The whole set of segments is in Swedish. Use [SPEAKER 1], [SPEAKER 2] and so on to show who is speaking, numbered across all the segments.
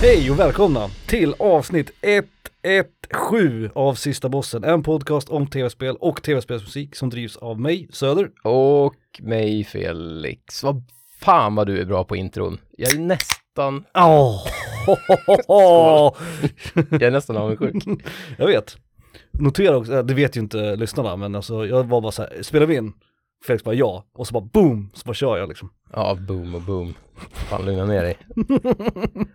[SPEAKER 1] Hej och välkomna till avsnitt 117 av Sista Bossen. En podcast om tv-spel och tv-spelsmusik som drivs av mig, Söder.
[SPEAKER 2] Och mig Felix. Vad fan vad du är bra på intron. Jag är nästan,
[SPEAKER 1] Oh.
[SPEAKER 2] jag är nästan avundsjuk.
[SPEAKER 1] jag vet. Notera också, eh, det vet ju inte lyssnarna, men alltså jag var bara så här, spelar vi in? Felix bara ja, och så bara boom, så bara kör jag liksom.
[SPEAKER 2] Ja, boom och boom. Fan, lugna ner dig.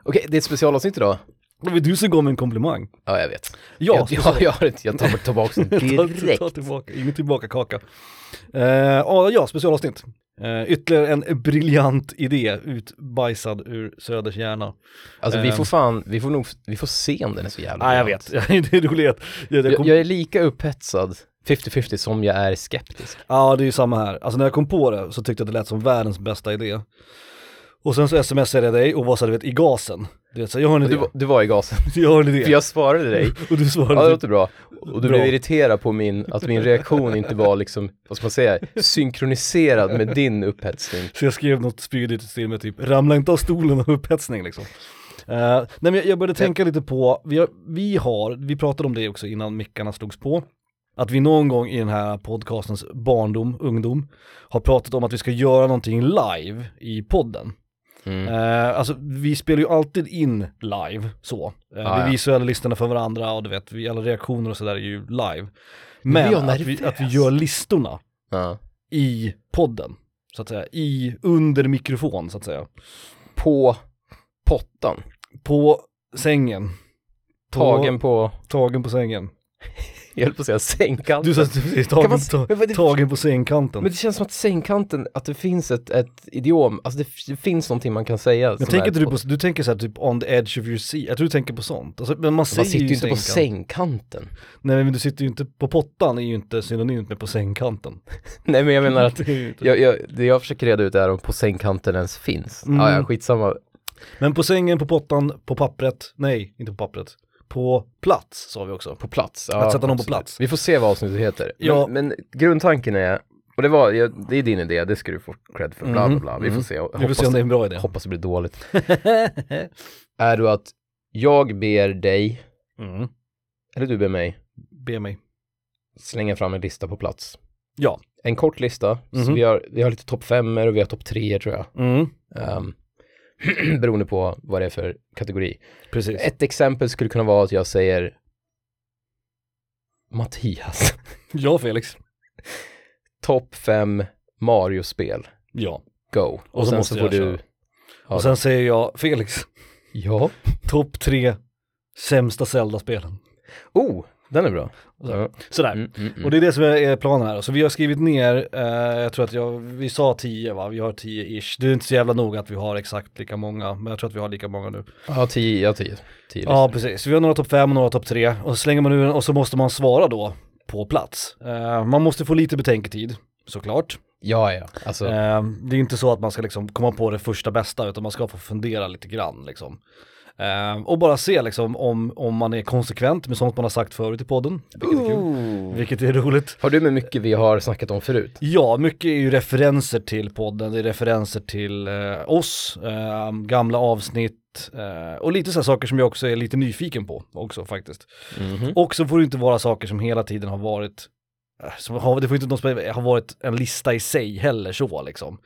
[SPEAKER 2] Okej, det är ett specialavsnitt idag.
[SPEAKER 1] Det var du som gav mig en komplimang.
[SPEAKER 2] Ja, jag vet.
[SPEAKER 1] Ja,
[SPEAKER 2] jag, jag, jag, har inte- jag tar tillbaka den
[SPEAKER 1] Ta,
[SPEAKER 2] direkt.
[SPEAKER 1] ta tillbaka, ingen tillbaka kaka. Eh, och ja, specialavsnitt. Eh, ytterligare en briljant idé utbajsad ur Söders hjärna.
[SPEAKER 2] Alltså vi
[SPEAKER 1] Eh.
[SPEAKER 2] får fan, vi får nog, vi får se om den är så jävla
[SPEAKER 1] Nej, Ah, jag
[SPEAKER 2] bra.
[SPEAKER 1] vet. det är roligt. Jag, jag
[SPEAKER 2] Jag,
[SPEAKER 1] kom,
[SPEAKER 2] jag är lika upphetsad 50-50 som jag är skeptisk.
[SPEAKER 1] Ja, det är ju samma här. Alltså när jag kom på det så tyckte jag att det lät som världens bästa idé. Och sen så smsade jag dig och var så här, du vet, i gasen. Du vet, så här, jag har en
[SPEAKER 2] Du,
[SPEAKER 1] idé.
[SPEAKER 2] var- du var i gasen,
[SPEAKER 1] Jag har en
[SPEAKER 2] för
[SPEAKER 1] idé.
[SPEAKER 2] jag svarade dig.
[SPEAKER 1] Och du
[SPEAKER 2] Ja, det
[SPEAKER 1] svarade typ,
[SPEAKER 2] låter bra. Och du
[SPEAKER 1] Bra.
[SPEAKER 2] blev irriterad på min, att min reaktion inte var liksom, vad ska man säga, synkroniserad med din upphetsning.
[SPEAKER 1] så jag skrev något spydigt till med typ, ramla inte av stolen av upphetsning liksom. Eh, nej men jag- jag började tänka lite på, vi har, vi har, vi pratade om det också innan mickarna slogs på, att vi någon gång i den här podcastens barndom, ungdom, har pratat om att vi ska göra någonting live i podden.
[SPEAKER 2] Mm.
[SPEAKER 1] Eh, alltså vi spelar ju alltid in live så. Eh,
[SPEAKER 2] Ah,
[SPEAKER 1] vi
[SPEAKER 2] ja.
[SPEAKER 1] visar ju alla listorna för varandra och du vet, vi, alla reaktioner och sådär är ju live.
[SPEAKER 2] blir
[SPEAKER 1] Men
[SPEAKER 2] jag
[SPEAKER 1] att vi,
[SPEAKER 2] nervös.
[SPEAKER 1] att vi gör listorna
[SPEAKER 2] Ja.
[SPEAKER 1] i podden, så att säga, i, under mikrofon så att säga.
[SPEAKER 2] På pottan,
[SPEAKER 1] På sängen. På,
[SPEAKER 2] tagen på,
[SPEAKER 1] Tagen på sängen.
[SPEAKER 2] jag höll på att säga sängkanten.
[SPEAKER 1] Du sa precis,
[SPEAKER 2] Kan
[SPEAKER 1] tagen,
[SPEAKER 2] man-
[SPEAKER 1] ta,
[SPEAKER 2] men vad det-
[SPEAKER 1] tagen på sängkanten.
[SPEAKER 2] Men det känns som att sängkanten, att det finns ett, ett idiom, alltså det, det finns någonting man kan säga.
[SPEAKER 1] Men
[SPEAKER 2] som
[SPEAKER 1] tänker
[SPEAKER 2] är
[SPEAKER 1] inte du på, du tänker såhär typ on the edge of your seat, jag tror du tänker på sånt. Alltså, men man,
[SPEAKER 2] man
[SPEAKER 1] säger
[SPEAKER 2] sitter ju inte på
[SPEAKER 1] sängkant.
[SPEAKER 2] sängkanten.
[SPEAKER 1] Nej men du sitter ju inte, på pottan är ju inte synonymt med på sängkanten.
[SPEAKER 2] Nej men jag menar att,
[SPEAKER 1] Det är ju inte-
[SPEAKER 2] jag, jag, det jag försöker reda ut är om på sängkanten ens finns.
[SPEAKER 1] Mm.
[SPEAKER 2] Ja, ja, skitsamma.
[SPEAKER 1] Men på sängen, på pottan, på pappret, nej, inte på pappret, på plats sa vi också.
[SPEAKER 2] På plats. Ja,
[SPEAKER 1] Att sätta någon på
[SPEAKER 2] absolut.
[SPEAKER 1] plats.
[SPEAKER 2] Vi får se vad avsnittet heter.
[SPEAKER 1] Ja.
[SPEAKER 2] Men, men grundtanken är, och det, var, ja, det är din idé, det ska du få cred för, bla bla bla. Vi får se.
[SPEAKER 1] Mm. Vi får
[SPEAKER 2] hoppas,
[SPEAKER 1] se om det är en bra idé.
[SPEAKER 2] hoppas det blir dåligt. Är du att jag ber dig,
[SPEAKER 1] mm.
[SPEAKER 2] eller du ber mig,
[SPEAKER 1] Be mig.
[SPEAKER 2] slänga fram en lista på plats.
[SPEAKER 1] Ja.
[SPEAKER 2] En kort lista, så
[SPEAKER 1] Mhm.
[SPEAKER 2] vi har, vi har lite topp femmor och vi har topp treor tror jag.
[SPEAKER 1] Mm.
[SPEAKER 2] Um, beroende på vad det är för kategori.
[SPEAKER 1] Precis.
[SPEAKER 2] Ett exempel skulle kunna vara att jag säger Mattias,
[SPEAKER 1] Ja Felix.
[SPEAKER 2] topp fem Mario-spel.
[SPEAKER 1] Ja.
[SPEAKER 2] go. Och,
[SPEAKER 1] så
[SPEAKER 2] sen
[SPEAKER 1] måste
[SPEAKER 2] så
[SPEAKER 1] jag
[SPEAKER 2] får du,
[SPEAKER 1] köra. Och sen säger jag Felix,
[SPEAKER 2] ja.
[SPEAKER 1] topp tre sämsta Zelda-spelen.
[SPEAKER 2] Oh, den är bra. Ja.
[SPEAKER 1] Sådär.
[SPEAKER 2] Mm, mm, mm.
[SPEAKER 1] Och det är det som är- är planen här. Så vi har skrivit ner, eh, jag tror att jag, vi sa 10 va, vi har 10-ish. Det är inte så jävla noga att vi har exakt lika många, men jag tror att vi har lika många nu.
[SPEAKER 2] Ja, tio, ja, tio. tio
[SPEAKER 1] Ja, precis. Vi har några topp fem och några topp tre och så slänger man ur den och så måste man svara då på plats. Eh, man måste få lite betänketid, såklart.
[SPEAKER 2] ja, ja. Alltså,
[SPEAKER 1] Eh, det är inte så att man ska liksom komma på det första bästa, utan man ska få fundera lite grann liksom. Eh, och bara se liksom om, om man är konsekvent med sånt man har sagt förut i podden, vilket är kul,
[SPEAKER 2] Ooh.
[SPEAKER 1] vilket är roligt.
[SPEAKER 2] Har du med mycket vi har snackat om förut?
[SPEAKER 1] Ja, mycket är ju referenser till podden, det är referenser till eh, oss, eh, gamla avsnitt eh, och lite så här saker som jag också är lite nyfiken på också faktiskt. Och så får det inte vara saker som hela tiden har varit, eh, som har, det får inte något som har varit en lista i sig heller så liksom.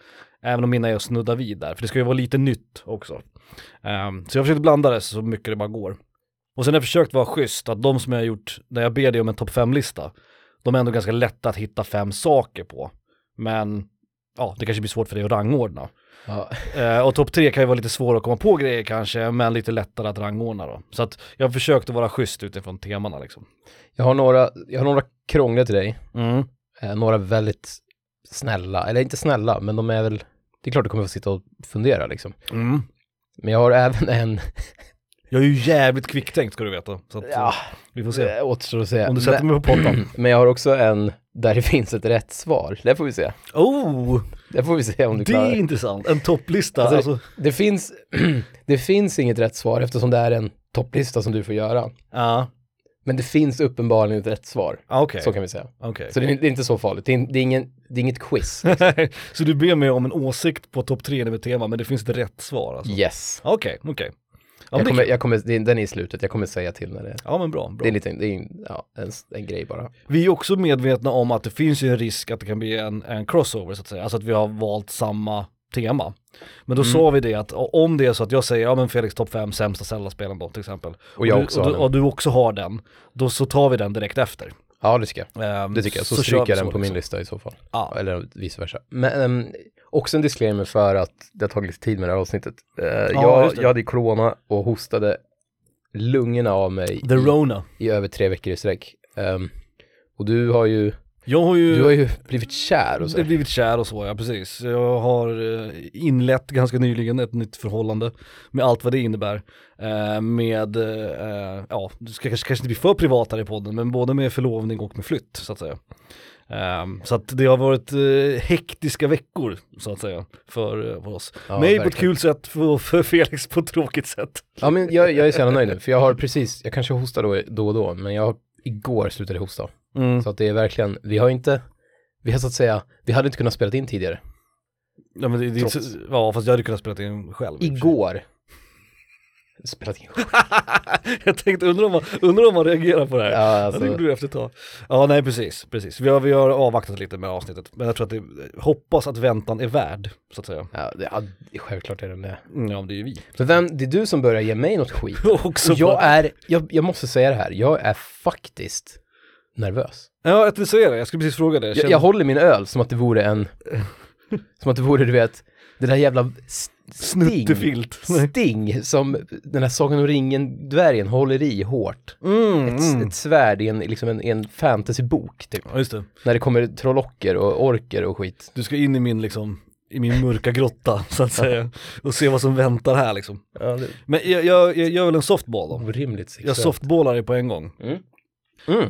[SPEAKER 1] Även om mina är att snudda vid där, för det ska ju vara lite nytt också. Ehm, så jag försökte blanda det så mycket det bara går. Och sen har jag försökt vara schysst, att de som jag har gjort, när jag ber dig om en topp 5-lista, de är ändå ganska lätta att hitta fem saker på. Men ja, det kanske blir svårt för dig att rangordna.
[SPEAKER 2] Ja.
[SPEAKER 1] Eh, och topp tre kan ju vara lite svårare att komma på grejer kanske, men lite lättare att rangordna då. Så att jag har försökt att vara schysst utifrån temana liksom.
[SPEAKER 2] Jag, har några, jag har några krångliga till dig,
[SPEAKER 1] Mm.
[SPEAKER 2] eh, några väldigt snälla, eller inte snälla, men de är väl, det är klart du kommer få sitta och fundera liksom.
[SPEAKER 1] Mm.
[SPEAKER 2] Men jag har även en,
[SPEAKER 1] Jag är ju jävligt kvicktänkt ska du veta. Så att,
[SPEAKER 2] ja,
[SPEAKER 1] eh, vi får se.
[SPEAKER 2] det återstår att säga.
[SPEAKER 1] Om du sätter mig på pottan.
[SPEAKER 2] men jag har också en där det finns ett rätt svar. Det får vi se.
[SPEAKER 1] Oh,
[SPEAKER 2] Det får vi se om du
[SPEAKER 1] det
[SPEAKER 2] klarar
[SPEAKER 1] är intressant. En topplista.
[SPEAKER 2] Alltså,
[SPEAKER 1] Alltså,
[SPEAKER 2] Det finns, det finns inget rätt svar eftersom det är en topplista som du får göra.
[SPEAKER 1] ja,
[SPEAKER 2] Men det finns uppenbarligen ett rätt svar.
[SPEAKER 1] ah, okej.
[SPEAKER 2] Så kan vi säga.
[SPEAKER 1] okej.
[SPEAKER 2] Så det är, det är inte så farligt. Det är, det är, ingen, det är inget quiz.
[SPEAKER 1] Så du ber mig om en åsikt på topp tre med tema, men det finns ett rätt svar alltså?
[SPEAKER 2] Yes.
[SPEAKER 1] Okej, okej. men
[SPEAKER 2] jag
[SPEAKER 1] det är
[SPEAKER 2] kommer,
[SPEAKER 1] kul.
[SPEAKER 2] jag kommer, det är- den är i slutet, jag kommer säga till när det är.
[SPEAKER 1] Ja men bra. bra.
[SPEAKER 2] Det är en liten, det är en, ja, en, s- en grej bara.
[SPEAKER 1] Vi är också medvetna om att det finns ju en risk att det kan bli en, en crossover så att säga, alltså att vi har valt samma tema. Men då
[SPEAKER 2] Mm.
[SPEAKER 1] sa vi det att o- om det är så att jag säger, ja men Felix topp 5 sämsta Zelda-spelen då till exempel. Och,
[SPEAKER 2] jag
[SPEAKER 1] du,
[SPEAKER 2] också
[SPEAKER 1] och,
[SPEAKER 2] har
[SPEAKER 1] du,
[SPEAKER 2] den.
[SPEAKER 1] och du också har den, då så tar vi den direkt efter.
[SPEAKER 2] Ja, det tycker jag.
[SPEAKER 1] Ehm,
[SPEAKER 2] Det tycker jag, så,
[SPEAKER 1] kör
[SPEAKER 2] stryker
[SPEAKER 1] vi
[SPEAKER 2] jag den
[SPEAKER 1] så
[SPEAKER 2] på min
[SPEAKER 1] också.
[SPEAKER 2] lista i så fall.
[SPEAKER 1] Ja.
[SPEAKER 2] Eller vice versa. Men ehm, också en disclaimer för att det har tagit lite tid med det här avsnittet. Eh,
[SPEAKER 1] just
[SPEAKER 2] jag,
[SPEAKER 1] det.
[SPEAKER 2] jag hade ju corona och hostade lungorna av mig
[SPEAKER 1] The Rona.
[SPEAKER 2] i, i över tre veckor i sträck. Ehm, och du har ju,
[SPEAKER 1] Jag har ju,
[SPEAKER 2] du har ju blivit kär och så.
[SPEAKER 1] det blivit kär och så ja, precis. Jag har eh, inlett ganska nyligen ett nytt förhållande med allt vad det innebär. Eh, Med, eh, ja, det ska kanske, kanske inte bli för privat här i podden, men både med förlovning och med flytt så att säga. Ehm, Så att det har varit eh, hektiska veckor så att säga för, eh, för oss.
[SPEAKER 2] Ja,
[SPEAKER 1] Mig på ett
[SPEAKER 2] verkligen.
[SPEAKER 1] kul sätt, för, för Felix på ett tråkigt sätt.
[SPEAKER 2] Ja, men jag, jag är så jävla nöjd nu, för jag har precis, jag kanske hostar då, då och då, men jag har igår slutade hosta. Så att det är verkligen, vi har inte, vi har så att säga, vi hade inte kunnat spela in tidigare.
[SPEAKER 1] Ja, men det, det, är inte så- ja, fast jag hade kunnat spela in själv. i och för sig.
[SPEAKER 2] Igår. Spelat in
[SPEAKER 1] jag tänkte, undrar om, man, undrar om man reagerar på det här.
[SPEAKER 2] Ja, alltså,
[SPEAKER 1] Ja, det gjorde du efter ett tag. Ja, nej precis, precis. Vi har, vi har avvaktat lite med avsnittet, men jag tror att det, hoppas att väntan är värd, så att säga.
[SPEAKER 2] ja, det, ja, det- självklart är den det.
[SPEAKER 1] Mm, Ja, men det är ju vi.
[SPEAKER 2] Men vem, det är du som börjar ge mig något skit.
[SPEAKER 1] Också
[SPEAKER 2] Och jag
[SPEAKER 1] bara-
[SPEAKER 2] är, jag, jag måste säga det här, jag är faktiskt nervös.
[SPEAKER 1] Ja, jag tänkte säga det, jag skulle precis fråga det.
[SPEAKER 2] Jag,
[SPEAKER 1] Känner-
[SPEAKER 2] jag håller min öl som att det vore en, som att det vore, du vet, det där jävla s- sting,
[SPEAKER 1] Snuttefilt. Nej.
[SPEAKER 2] sting som den här Sagan om ringen-dvärgen håller i hårt.
[SPEAKER 1] Mm,
[SPEAKER 2] Ett, s-
[SPEAKER 1] mm.
[SPEAKER 2] ett svärd i en, liksom en, i en fantasybok, typ.
[SPEAKER 1] Ja, just det.
[SPEAKER 2] När det kommer trollocker och orker och skit.
[SPEAKER 1] Du ska in i min, liksom, i min mörka grotta, så att säga, och se vad som väntar här liksom.
[SPEAKER 2] Ja, det är
[SPEAKER 1] Men jag, jag, jag gör väl en softball då.
[SPEAKER 2] orimligt
[SPEAKER 1] Jag
[SPEAKER 2] sexuellt.
[SPEAKER 1] softballar dig på en gång,
[SPEAKER 2] Mm.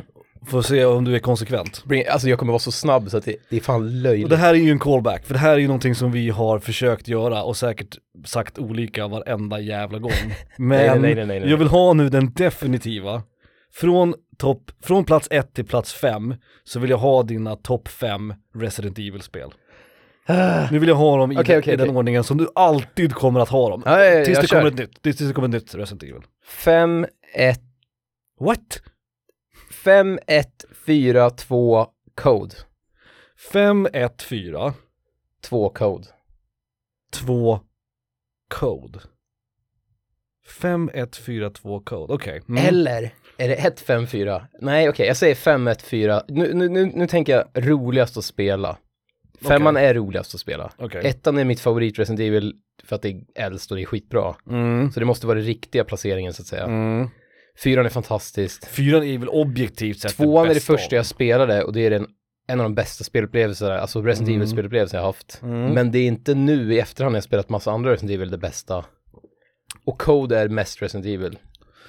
[SPEAKER 1] för att se om du är konsekvent.
[SPEAKER 2] Bring, alltså jag kommer vara så snabb så att det, det är fan
[SPEAKER 1] Och
[SPEAKER 2] löjligt.
[SPEAKER 1] det här är ju en callback, för det här är ju någonting som vi har försökt göra och säkert sagt olika varenda jävla gång. Men
[SPEAKER 2] Nej, nej, nej, nej, nej, nej.
[SPEAKER 1] jag vill ha nu den definitiva. Från, topp, från plats 1 till plats 5 så vill jag ha dina topp 5 Resident Evil-spel. Nu vill jag ha dem i,
[SPEAKER 2] Okej, okej,
[SPEAKER 1] i den
[SPEAKER 2] okej.
[SPEAKER 1] ordningen som du alltid kommer att ha dem.
[SPEAKER 2] Ja, ja, ja,
[SPEAKER 1] tills,
[SPEAKER 2] jag
[SPEAKER 1] det
[SPEAKER 2] kör.
[SPEAKER 1] kommer ett nytt, tills det kommer ett nytt Resident Evil.
[SPEAKER 2] 5, 1,
[SPEAKER 1] What?
[SPEAKER 2] 5, 1, 4, 2, code.
[SPEAKER 1] 5, 1, 4,
[SPEAKER 2] 2, code.
[SPEAKER 1] 2, code. 5, 1, 4, 2, code, okej. Mm.
[SPEAKER 2] Eller är det 1, 5, 4? Nej, okej, jag säger 5, 1, 4. Nu, nu, nu, nu tänker jag roligast att spela. Femman är roligast att spela.
[SPEAKER 1] Okej.
[SPEAKER 2] Ettan är mitt favorit Resident Evil för att det är äldst och det är skitbra.
[SPEAKER 1] Mm.
[SPEAKER 2] Så det måste vara den riktiga placeringen så att säga.
[SPEAKER 1] Mm.
[SPEAKER 2] Fyran är fantastiskt.
[SPEAKER 1] Fyran är väl objektivt sett
[SPEAKER 2] Tvåan är det
[SPEAKER 1] bästa av
[SPEAKER 2] första
[SPEAKER 1] dem.
[SPEAKER 2] jag spelade och det är den, en av de bästa spelupplevelserna, alltså Resident
[SPEAKER 1] Mm.
[SPEAKER 2] Evil-spelupplevelser jag haft.
[SPEAKER 1] Mm.
[SPEAKER 2] Men det är inte nu i efterhand när jag spelat massa andra Resident Evil det bästa. Och Code är mest Resident Evil.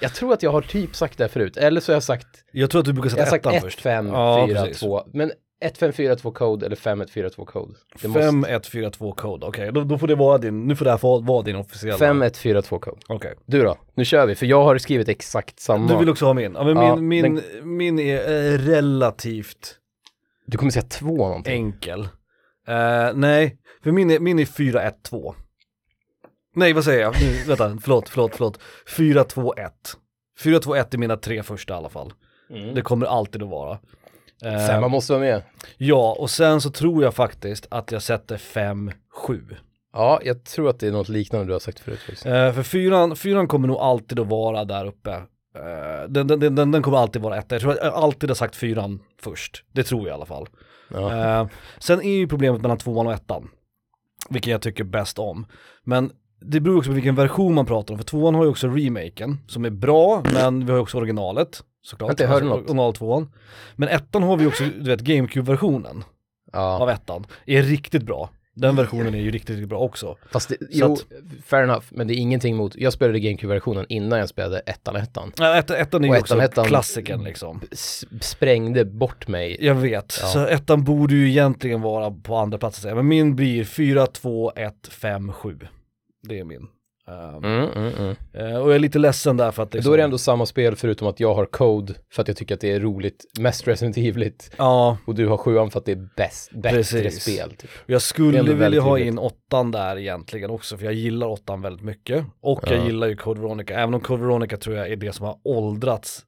[SPEAKER 2] Jag tror att jag har typ sagt det här förut, eller så har jag sagt,
[SPEAKER 1] Jag tror att du brukar
[SPEAKER 2] jag
[SPEAKER 1] sätta
[SPEAKER 2] har sagt
[SPEAKER 1] ettan
[SPEAKER 2] 1,
[SPEAKER 1] först.
[SPEAKER 2] 5,
[SPEAKER 1] Ja,
[SPEAKER 2] 4,
[SPEAKER 1] precis.
[SPEAKER 2] 2, men 1, 5, 4, 2 Code eller 5, 1, 4, 2 Code. Det måste-
[SPEAKER 1] 5, 1, 4, 2, code. Okej, då, då får det vara din, nu får det här få- vara din officiella.
[SPEAKER 2] 5, 1, 4, 2 Code.
[SPEAKER 1] Okej.
[SPEAKER 2] Du då? Nu kör vi, för jag har skrivit exakt samma.
[SPEAKER 1] Du vill också ha min? Ja, men
[SPEAKER 2] Ja,
[SPEAKER 1] min, min, min är eh, relativt
[SPEAKER 2] Du kommer säga 2 någonting.
[SPEAKER 1] enkel. Eh, nej, för min är, min är 4, 1, 2. Nej, vad säger jag? Nu, vänta, förlåt, förlåt, förlåt. 4, 2, 1. 4, 2, 1 är mina tre första i alla fall. Det kommer alltid att vara. Eh,
[SPEAKER 2] Femman måste vara med.
[SPEAKER 1] Ja, och sen så tror jag faktiskt att jag sätter 5-7.
[SPEAKER 2] Ja, jag tror att det är något liknande du har sagt förut faktiskt.
[SPEAKER 1] Eh, för fyran, fyran kommer nog alltid att vara där uppe. Eh, den, den, den, den- den kommer alltid vara etta. Jag tror att jag alltid har sagt fyran först. Det tror jag i alla fall.
[SPEAKER 2] Ja.
[SPEAKER 1] Eh, sen är ju problemet mellan tvåan och ettan. Vilken jag tycker bäst om. Men det beror också på vilken version man pratar om. För tvåan har ju också remaken som är bra, men vi har ju också originalet. Såklart.
[SPEAKER 2] Vänta, jag hörde något.
[SPEAKER 1] originaltvåan. Men ettan har vi också, du vet, GameCube-versionen
[SPEAKER 2] ja.
[SPEAKER 1] av ettan är riktigt bra. Den versionen är ju riktigt, riktigt bra också.
[SPEAKER 2] Fast det, jo,
[SPEAKER 1] att-
[SPEAKER 2] fair enough, men det är ingenting mot, jag spelade GameCube-versionen innan jag spelade ettan ettan.
[SPEAKER 1] Ja, ett, ettan är
[SPEAKER 2] Och
[SPEAKER 1] ju
[SPEAKER 2] ettan-
[SPEAKER 1] också
[SPEAKER 2] ettan-
[SPEAKER 1] klassiken liksom.
[SPEAKER 2] S- sprängde bort mig.
[SPEAKER 1] Jag vet, så ettan borde ju egentligen vara på andra plats, men min blir 4, 2, 1, 5, 7. Det är min. Eh,
[SPEAKER 2] Mm, mm, mm.
[SPEAKER 1] eh, och jag är lite ledsen där för att
[SPEAKER 2] Då är det ändå samma spel förutom att jag har code för att jag tycker att det är roligt, mest Resident Evil-igt.
[SPEAKER 1] Ja,
[SPEAKER 2] Och du har sjuan för att det är bäst, bättre
[SPEAKER 1] Precis.
[SPEAKER 2] spel. Typ.
[SPEAKER 1] och jag
[SPEAKER 2] Det är
[SPEAKER 1] skulle
[SPEAKER 2] ändå
[SPEAKER 1] vilja
[SPEAKER 2] väldigt
[SPEAKER 1] ha
[SPEAKER 2] tydligt.
[SPEAKER 1] in åttan där egentligen också, för jag gillar åttan väldigt mycket. Och jag
[SPEAKER 2] Ja.
[SPEAKER 1] gillar ju Code Veronica, även om Code Veronica tror jag är det som har åldrats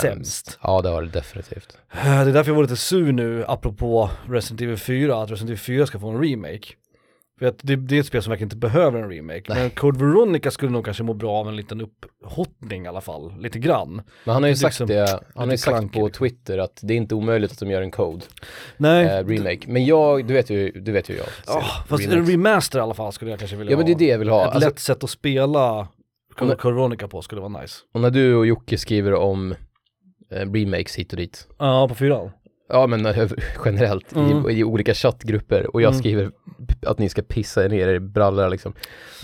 [SPEAKER 1] sämst.
[SPEAKER 2] Ja, det har det definitivt.
[SPEAKER 1] Eh, Det är därför jag var lite sur nu, apropå Resident Evil 4, att Resident Evil 4 ska få en remake. För att det, det är ett spel som verkligen inte behöver en remake. Men Code Veronica skulle nog kanske må bra av en liten upphottning i alla fall, lite grann.
[SPEAKER 2] Men han har
[SPEAKER 1] Det är
[SPEAKER 2] ju sagt
[SPEAKER 1] liksom
[SPEAKER 2] det, han har ju
[SPEAKER 1] lite
[SPEAKER 2] sagt
[SPEAKER 1] klankig,
[SPEAKER 2] på
[SPEAKER 1] liksom.
[SPEAKER 2] Twitter att det är inte omöjligt att de gör en code,
[SPEAKER 1] Nej,
[SPEAKER 2] eh, remake. Men jag, du vet ju, du vet ju hur jag. ser
[SPEAKER 1] ah, fast
[SPEAKER 2] remakes.
[SPEAKER 1] en remaster i alla fall skulle jag kanske vilja
[SPEAKER 2] Ja men det är
[SPEAKER 1] ha.
[SPEAKER 2] det jag vill ha.
[SPEAKER 1] Ett
[SPEAKER 2] Alltså,
[SPEAKER 1] lätt sätt att spela
[SPEAKER 2] Men-
[SPEAKER 1] Code Code Veronica på skulle vara nice.
[SPEAKER 2] och när du och Jocke skriver om eh, remakes hit och dit.
[SPEAKER 1] Ja, på fyran.
[SPEAKER 2] Ja men eh, generellt
[SPEAKER 1] Mm.
[SPEAKER 2] i, i olika chattgrupper och jag
[SPEAKER 1] Mm.
[SPEAKER 2] skriver p- att ni ska pissa er ner i brallorna liksom.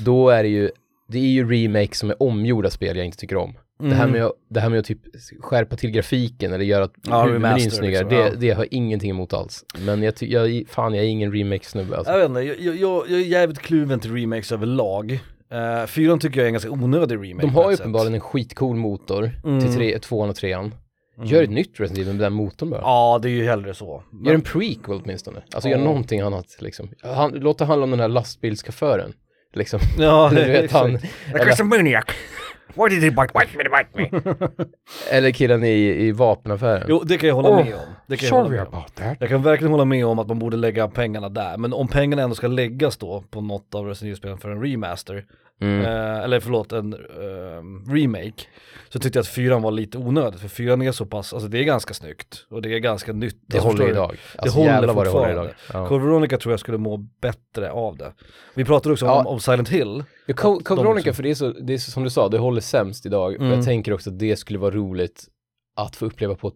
[SPEAKER 2] Då är det ju, det är ju remake som är omgjorda spel jag inte tycker om. Det, här
[SPEAKER 1] Mm.
[SPEAKER 2] med att, det här med att typ skärpa till grafiken eller göra att
[SPEAKER 1] Ja,
[SPEAKER 2] huvudmenyn
[SPEAKER 1] remaster,
[SPEAKER 2] snyggare,
[SPEAKER 1] liksom,
[SPEAKER 2] det,
[SPEAKER 1] ja.
[SPEAKER 2] det har jag ingenting emot alls. Men jag, ty- jag fan jag är ingen remake-snubbe alltså.
[SPEAKER 1] Jag vet inte, jag, jag, jag, jag är jävligt kluven till remakes överlag. Uh, fyran tycker jag är en ganska onödig remake.
[SPEAKER 2] De
[SPEAKER 1] på
[SPEAKER 2] har ju
[SPEAKER 1] ett sätt.
[SPEAKER 2] uppenbarligen en skitcool motor till
[SPEAKER 1] Mm.
[SPEAKER 2] tre, tvåan och trean. Gör ett nytt Resident Evil med den motorn bara.
[SPEAKER 1] Ja, det är ju hellre så. Men-
[SPEAKER 2] Gör en prequel åtminstone. Alltså
[SPEAKER 1] Ja.
[SPEAKER 2] gör någonting annat liksom. Han, låt det handla om den här lastbilschauffören. Liksom.
[SPEAKER 1] Ja,
[SPEAKER 2] Du vet han,
[SPEAKER 1] The Christian Why did he bite me?
[SPEAKER 2] eller killen i, i vapenaffären.
[SPEAKER 1] Jo, det kan jag hålla
[SPEAKER 2] Oh,
[SPEAKER 1] med om. Det kan jag, hålla med om.
[SPEAKER 2] that.
[SPEAKER 1] jag kan verkligen hålla med om att man borde lägga pengarna där. Men om pengarna ändå ska läggas då på något av Resident Evil-spelen för en remaster,
[SPEAKER 2] Mm.
[SPEAKER 1] eh, eller förlåt, en eh, remake, så tyckte jag att fyran var lite onödigt. För fyran är så pass, alltså det är ganska snyggt och det är ganska nytt.
[SPEAKER 2] Det
[SPEAKER 1] alltså,
[SPEAKER 2] håller
[SPEAKER 1] förstår du?
[SPEAKER 2] idag. Alltså,
[SPEAKER 1] håller
[SPEAKER 2] jävlar vad det håller idag.
[SPEAKER 1] fortfarande.
[SPEAKER 2] Ja.
[SPEAKER 1] Code Veronica tror jag skulle må bättre av det. Vi pratade också
[SPEAKER 2] Ja.
[SPEAKER 1] om, om Silent Hill.
[SPEAKER 2] Ja, Co- Code
[SPEAKER 1] de
[SPEAKER 2] Veronica,
[SPEAKER 1] också-
[SPEAKER 2] för det är, så, det är så, som du sa, det håller sämst idag.
[SPEAKER 1] Mm.
[SPEAKER 2] Men jag tänker också att det skulle vara roligt att få uppleva på ett-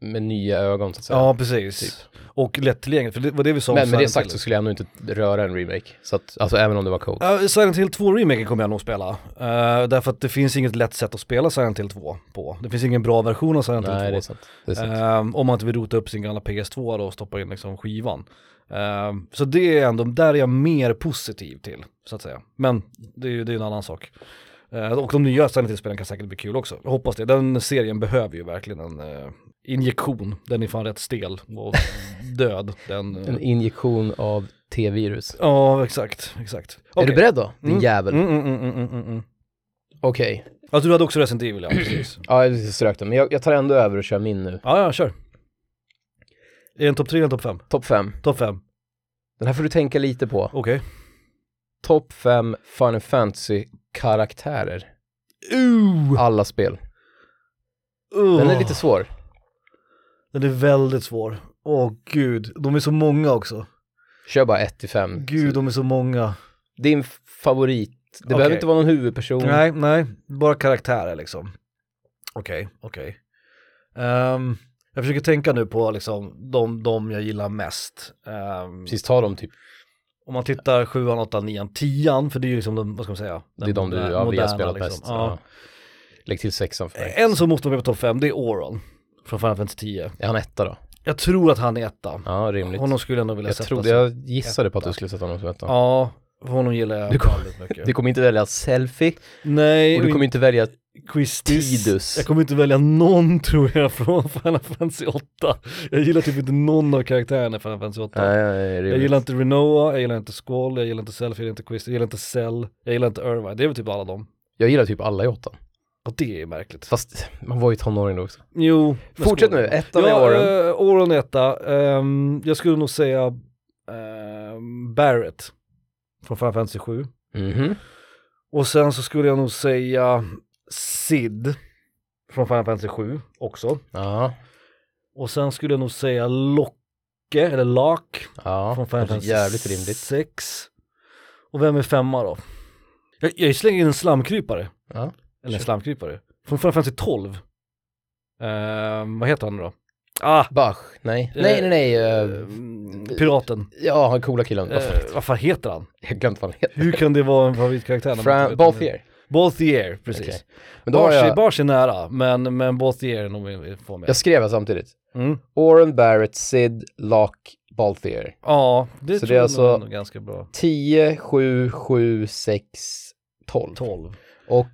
[SPEAKER 2] med nya ögon så att säga.
[SPEAKER 1] Ja, precis. Och lättillgängligt, för det var det vi sa om
[SPEAKER 2] typ. Men med det
[SPEAKER 1] Silent
[SPEAKER 2] sagt
[SPEAKER 1] Hill.
[SPEAKER 2] så skulle jag ändå inte röra en remake. Så att, alltså även om det var Code.
[SPEAKER 1] Uh, Silent Hill 2 remaken kommer jag nog spela. Eh, därför att det finns inget lätt sätt att spela Silent Hill 2 på. Det finns ingen bra version av Silent
[SPEAKER 2] Nej, det
[SPEAKER 1] Hill
[SPEAKER 2] är
[SPEAKER 1] 2.
[SPEAKER 2] sant. Det är sant.
[SPEAKER 1] Eh, om man inte vill rota upp sin gamla PS2 då och stoppa in liksom skivan. Eh, så det är ändå, där är jag mer positiv till, så att säga. Men det är ju det är en annan sak. Eh, och de nya Silent Hill-spelen kan säkert bli kul också. Jag hoppas det. Den serien behöver ju verkligen en eh, injektion. Den är fan rätt stel och död. Den, eh.
[SPEAKER 2] En injektion av T-virus.
[SPEAKER 1] Ja, exakt, exakt.
[SPEAKER 2] Är
[SPEAKER 1] Okej.
[SPEAKER 2] du beredd då, din
[SPEAKER 1] Mm.
[SPEAKER 2] jävel?
[SPEAKER 1] Mm, mm, mm, mm, mm, mm.
[SPEAKER 2] Okej,
[SPEAKER 1] Ja, du hade också Resident Evil, ja precis.
[SPEAKER 2] ja jag strök den, men jag, jag tar ändå över och kör min nu.
[SPEAKER 1] Ja, ja, kör. Är det en topp 3 eller en topp 5?
[SPEAKER 2] Topp 5.
[SPEAKER 1] Topp 5,
[SPEAKER 2] Den här får du tänka lite på.
[SPEAKER 1] okej.
[SPEAKER 2] Topp 5 Final Fantasy-karaktärer.
[SPEAKER 1] Uh,
[SPEAKER 2] Alla spel. Den är lite svår.
[SPEAKER 1] Den är väldigt svår. Åh gud, de är så många också.
[SPEAKER 2] Kör bara 1 till 5.
[SPEAKER 1] Gud, de är så många.
[SPEAKER 2] Din favorit. Det
[SPEAKER 1] Okej.
[SPEAKER 2] behöver inte vara någon huvudperson.
[SPEAKER 1] Nej, nej, bara karaktärer liksom. Okej, okej. Ehm, jag försöker tänka nu på liksom de, de jag gillar mest. Ehm,
[SPEAKER 2] Precis, ta dem typ.
[SPEAKER 1] Om man tittar 7, 8, 9, 10, för det är ju liksom den, vad ska man säga?
[SPEAKER 2] Det är de du
[SPEAKER 1] moder-
[SPEAKER 2] ja, vi har
[SPEAKER 1] moderna,
[SPEAKER 2] spelat
[SPEAKER 1] liksom.
[SPEAKER 2] bäst.
[SPEAKER 1] Ja.
[SPEAKER 2] Ja. Lägg till sexan för mig.
[SPEAKER 1] En som måste vara med på topp 5, det är Oron från Final Fantasy 10.
[SPEAKER 2] Är han etta då?
[SPEAKER 1] Jag tror att han är etta.
[SPEAKER 2] Ja, rimligt.
[SPEAKER 1] Honom skulle jag nog vilja
[SPEAKER 2] jag,
[SPEAKER 1] sätta.
[SPEAKER 2] trodde,
[SPEAKER 1] som-
[SPEAKER 2] jag gissade på att du skulle sätta honom som etta.
[SPEAKER 1] Ja, för honom gillar jag
[SPEAKER 2] Du kom-
[SPEAKER 1] väldigt mycket.
[SPEAKER 2] Du kommer inte välja selfie
[SPEAKER 1] Nej,
[SPEAKER 2] och du
[SPEAKER 1] och
[SPEAKER 2] kommer inte välja
[SPEAKER 1] inte- Quistis.
[SPEAKER 2] Tidus.
[SPEAKER 1] Jag kommer inte välja någon tror jag från Final Fantasy 8. Jag gillar typ inte någon av karaktärerna i Final Fantasy 8.
[SPEAKER 2] Nej, nej,
[SPEAKER 1] Jag gillar inte Renoa, jag gillar inte Squall, jag gillar inte Self, jag gillar inte Quist, jag gillar inte Cell, jag gillar inte Irvine. Det är väl typ alla dem.
[SPEAKER 2] jag gillar typ alla i åttan.
[SPEAKER 1] Och det är märkligt.
[SPEAKER 2] Fast man var ju tonåring då också.
[SPEAKER 1] Jo. men
[SPEAKER 2] Fortsätt
[SPEAKER 1] Squall-
[SPEAKER 2] nu, ettan är
[SPEAKER 1] Ja,
[SPEAKER 2] Oren.
[SPEAKER 1] eh, Oron etta. Ehm, jag skulle nog säga ehm, Barrett från Final Fantasy 7.
[SPEAKER 2] Mhm.
[SPEAKER 1] Och sen så skulle jag nog säga Sid från Final Fantasy 7 också.
[SPEAKER 2] Ja,
[SPEAKER 1] Och sen skulle jag nog säga Locke, eller Locke
[SPEAKER 2] ja.
[SPEAKER 1] från Final
[SPEAKER 2] låter
[SPEAKER 1] Fantasy
[SPEAKER 2] jävligt rimligt.
[SPEAKER 1] 6. Och vem är femma då? Jag, jag slänger in en slamkrypare.
[SPEAKER 2] Ja.
[SPEAKER 1] Eller en
[SPEAKER 2] Kör.
[SPEAKER 1] slamkrypare. Från Final Fantasy 12. Ehm, vad heter han då? Ah,
[SPEAKER 2] Bach, nej.
[SPEAKER 1] Eh,
[SPEAKER 2] nej, nej, nej. eh,
[SPEAKER 1] Mm, Piraten.
[SPEAKER 2] ja, han coola killen. Vad fan-
[SPEAKER 1] Eh, vad fan heter han?
[SPEAKER 2] Jag har glömt vad han heter.
[SPEAKER 1] Hur kan det vara en favoritkaraktär? när man inte vet
[SPEAKER 2] Fran-
[SPEAKER 1] vem det är?
[SPEAKER 2] Balthier.
[SPEAKER 1] Balthier, precis.
[SPEAKER 2] Okej. Men då har
[SPEAKER 1] Bars,
[SPEAKER 2] jag,
[SPEAKER 1] Bars är nära, men, men Balthier är nog min får med.
[SPEAKER 2] jag skrev här samtidigt.
[SPEAKER 1] Mm.
[SPEAKER 2] Oren Barrett, Sid, Locke, Balthier.
[SPEAKER 1] Ja, det
[SPEAKER 2] Så
[SPEAKER 1] tror
[SPEAKER 2] det är
[SPEAKER 1] jag
[SPEAKER 2] alltså-
[SPEAKER 1] nog är nog ganska bra.
[SPEAKER 2] 10, 7, 7, 6, 12.
[SPEAKER 1] 12.
[SPEAKER 2] Och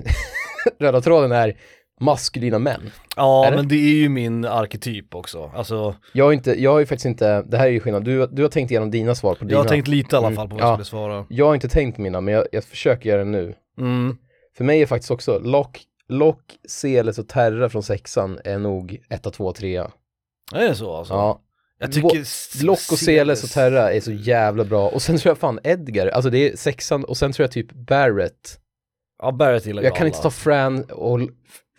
[SPEAKER 2] eh, röda tråden är maskulina män.
[SPEAKER 1] Ja,
[SPEAKER 2] Är det?
[SPEAKER 1] men det är ju min arketyp också. Alltså,
[SPEAKER 2] Jag har, inte, jag har ju faktiskt inte, det här är ju skillnad, du, du har tänkt igenom dina svar på dina.
[SPEAKER 1] jag har tänkt lite i alla
[SPEAKER 2] Mm,
[SPEAKER 1] fall på vad
[SPEAKER 2] ja.
[SPEAKER 1] jag skulle svara.
[SPEAKER 2] jag har inte tänkt mina, men jag, jag försöker göra det nu.
[SPEAKER 1] Mm.
[SPEAKER 2] För mig är faktiskt också Lock, Lock, Seles och Terra från sexan är nog etta, tvåa, trea.
[SPEAKER 1] Är det så alltså?
[SPEAKER 2] Ja.
[SPEAKER 1] Jag tycker...
[SPEAKER 2] Lo- Lock och Seles och Terra är så jävla bra. Och sen tror jag fan Edgar, alltså det är sexan och sen tror jag typ Barrett.
[SPEAKER 1] Ja, Barrett gillar
[SPEAKER 2] Jag kan
[SPEAKER 1] alla.
[SPEAKER 2] inte ta Fran och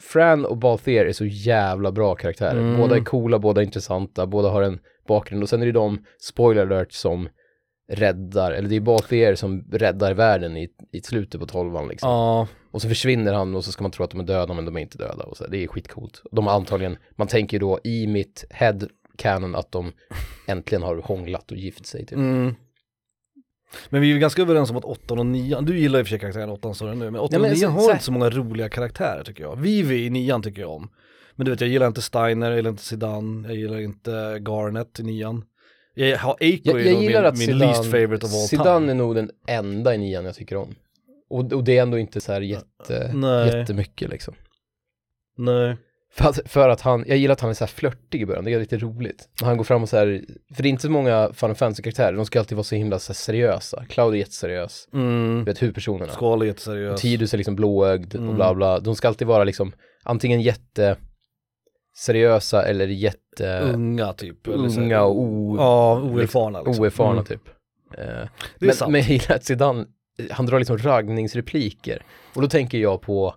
[SPEAKER 2] Fran och Balthier är så jävla bra karaktärer.
[SPEAKER 1] Mm.
[SPEAKER 2] Båda är coola, båda är intressanta, båda har en bakgrund. Och sen är det de, spoiler alert, som räddar, eller det är Balthier som räddar världen i, i slutet på tolvan liksom.
[SPEAKER 1] Ja,
[SPEAKER 2] Och så försvinner han och så ska man tro att de är döda men de är inte döda. Och så, det är skitcoolt. De har antagligen, man tänker ju då i mitt head canon att de äntligen har hånglat och gift sig. Typ.
[SPEAKER 1] mm. Men vi är ju ganska överens om att 8 och 9, du gillar ju i och för sig karaktären 8 sa du nu, men 8 och
[SPEAKER 2] Nej, men
[SPEAKER 1] 9
[SPEAKER 2] så-
[SPEAKER 1] har
[SPEAKER 2] så här-
[SPEAKER 1] inte så många roliga karaktärer tycker jag. Vivi i 9 tycker jag om. Men du vet, jag gillar inte Steiner, jag gillar inte Zidane, jag gillar inte Garnet i 9 Jag har Eiko
[SPEAKER 2] Jag, jag gillar
[SPEAKER 1] min,
[SPEAKER 2] att
[SPEAKER 1] min
[SPEAKER 2] Zidane,
[SPEAKER 1] least favorite of all
[SPEAKER 2] Zidane
[SPEAKER 1] time.
[SPEAKER 2] är nog den enda i nian jag tycker om. Och, och det är ändå inte så här jätte,
[SPEAKER 1] Uh, Nej.
[SPEAKER 2] jättemycket liksom.
[SPEAKER 1] Nej.
[SPEAKER 2] För att, för att han, jag gillar att han är så här flörtig i början, det är lite roligt. När han går fram och så här, för det är inte så många Final Fantasy-karaktärer, de ska alltid vara så himla så här seriösa. Cloud är jätteseriös,
[SPEAKER 1] Mm.
[SPEAKER 2] du vet huvudpersonerna.
[SPEAKER 1] Skal är jätteseriös.
[SPEAKER 2] Tidus är liksom blåögd
[SPEAKER 1] Mm.
[SPEAKER 2] och bla bla. De ska alltid vara liksom antingen jätte seriösa eller jätteunga
[SPEAKER 1] Unga typ. eller så här-
[SPEAKER 2] och o-
[SPEAKER 1] Ja, oerfarna liksom.
[SPEAKER 2] oerfarna
[SPEAKER 1] Mm.
[SPEAKER 2] typ. Eh,
[SPEAKER 1] Det är
[SPEAKER 2] men,
[SPEAKER 1] sant.
[SPEAKER 2] men jag gillar att Zidane, han drar liksom raggningsrepliker. Och då tänker jag på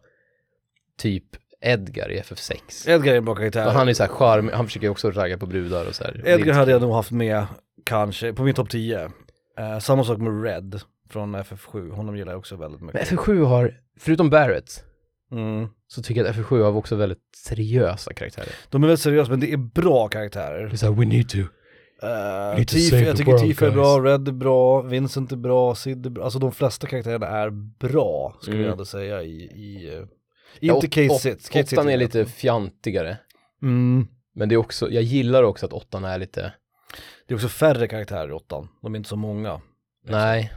[SPEAKER 2] typ Edgar i FF6.
[SPEAKER 1] Edgar är en bra karaktär.
[SPEAKER 2] Och han är så här charm, han försöker ju också ragga på brudar och så här.
[SPEAKER 1] Edgar hade jag nog haft med kanske på min topp 10. Eh, samma sak med Red från FF7, honom gillar jag också väldigt
[SPEAKER 2] Men
[SPEAKER 1] mycket.
[SPEAKER 2] FF7 har, förutom Barrett,
[SPEAKER 1] Mm.
[SPEAKER 2] så tycker jag att FF7 har också väldigt seriösa karaktärer.
[SPEAKER 1] De är väldigt seriösa men det är bra
[SPEAKER 2] Det är
[SPEAKER 1] karaktärer.
[SPEAKER 2] så här, we need to.
[SPEAKER 1] Eh,
[SPEAKER 2] Need to
[SPEAKER 1] Tifa,
[SPEAKER 2] save
[SPEAKER 1] jag
[SPEAKER 2] the
[SPEAKER 1] tycker
[SPEAKER 2] world,
[SPEAKER 1] Tifa är
[SPEAKER 2] guys.
[SPEAKER 1] bra, Red är bra, Vincent är bra, Sid är bra. Alltså de flesta karaktärerna är bra skulle
[SPEAKER 2] Mm.
[SPEAKER 1] jag ändå säga i... i eh,
[SPEAKER 2] Ja,
[SPEAKER 1] inte
[SPEAKER 2] åt-
[SPEAKER 1] Kate
[SPEAKER 2] åt-
[SPEAKER 1] Sitz. Kate Sitz
[SPEAKER 2] Åttan är
[SPEAKER 1] jag.
[SPEAKER 2] lite fjantigare.
[SPEAKER 1] Mm.
[SPEAKER 2] Men det är också, jag gillar också att åttan är lite,
[SPEAKER 1] Det är också färre karaktärer i åttan, de är inte så många. Liksom.
[SPEAKER 2] nej.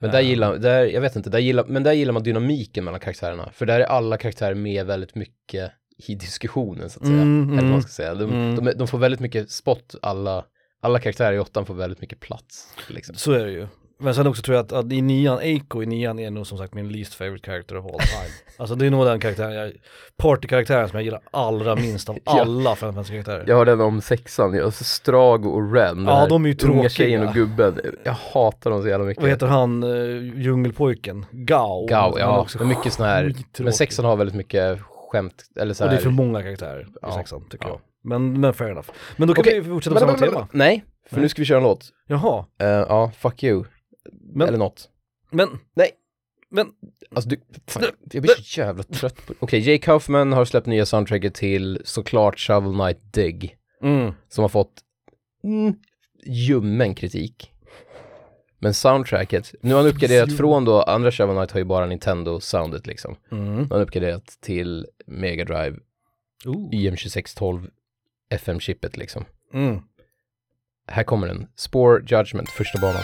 [SPEAKER 2] Men där
[SPEAKER 1] Ähm.
[SPEAKER 2] gillar, där, jag vet inte, där gillar, men där gillar man dynamiken mellan karaktärerna. För där är alla karaktärer med väldigt mycket i diskussionen så att säga.
[SPEAKER 1] Mm,
[SPEAKER 2] Eller vad
[SPEAKER 1] mm.
[SPEAKER 2] man ska säga. De,
[SPEAKER 1] Mm.
[SPEAKER 2] de, är- de får väldigt mycket spot, alla, alla karaktärer i åttan får väldigt mycket plats. Liksom.
[SPEAKER 1] Så är det ju. Men sen också tror jag att, att i nian, Eiko i nian är nog som sagt min least favorite character of all time. alltså det är nog den karaktären jag, partykaraktären som jag gillar allra minst av
[SPEAKER 2] Ja.
[SPEAKER 1] alla Final Fantasy-karaktärer.
[SPEAKER 2] Jag har den om sexan, alltså Strago och Ren, den
[SPEAKER 1] Ja, här de är ju unga tråkiga. tjejen och
[SPEAKER 2] gubben. Jag hatar dem så jävla mycket.
[SPEAKER 1] Vad heter han, uh, djungelpojken? Gao.
[SPEAKER 2] Gao,
[SPEAKER 1] Han är
[SPEAKER 2] ja.
[SPEAKER 1] också
[SPEAKER 2] Men mycket sån här,
[SPEAKER 1] skittråkig.
[SPEAKER 2] men sexan har väldigt mycket skämt, eller så
[SPEAKER 1] Och
[SPEAKER 2] här.
[SPEAKER 1] det är för många karaktärer i
[SPEAKER 2] Ja.
[SPEAKER 1] sexan tycker
[SPEAKER 2] Ja.
[SPEAKER 1] jag. Men, men fair enough. Men då kan
[SPEAKER 2] Okej.
[SPEAKER 1] vi fortsätta på samma tema.
[SPEAKER 2] Nej, för
[SPEAKER 1] Nej.
[SPEAKER 2] nu ska vi köra en låt.
[SPEAKER 1] Jaha,
[SPEAKER 2] Eh, ja, fuck you.
[SPEAKER 1] Men-
[SPEAKER 2] Eller något.
[SPEAKER 1] men
[SPEAKER 2] Nej.
[SPEAKER 1] Men
[SPEAKER 2] Alltså du, fan, jag blir så jävla trött på Okej, Jay Kaufman har släppt nya soundtracket till såklart Shovel Knight Dig.
[SPEAKER 1] mm.
[SPEAKER 2] Som har fått mm, ljummen kritik. Men soundtracket, nu har han uppgraderat från då, andra Shovel Knight har ju bara Nintendo-soundet liksom. Nu
[SPEAKER 1] Mm.
[SPEAKER 2] har han uppgraderat till Mega Drive
[SPEAKER 1] Ooh.
[SPEAKER 2] IM2612 FM-chippet liksom.
[SPEAKER 1] Mm.
[SPEAKER 2] Här kommer den. Spore Judgment, första banan.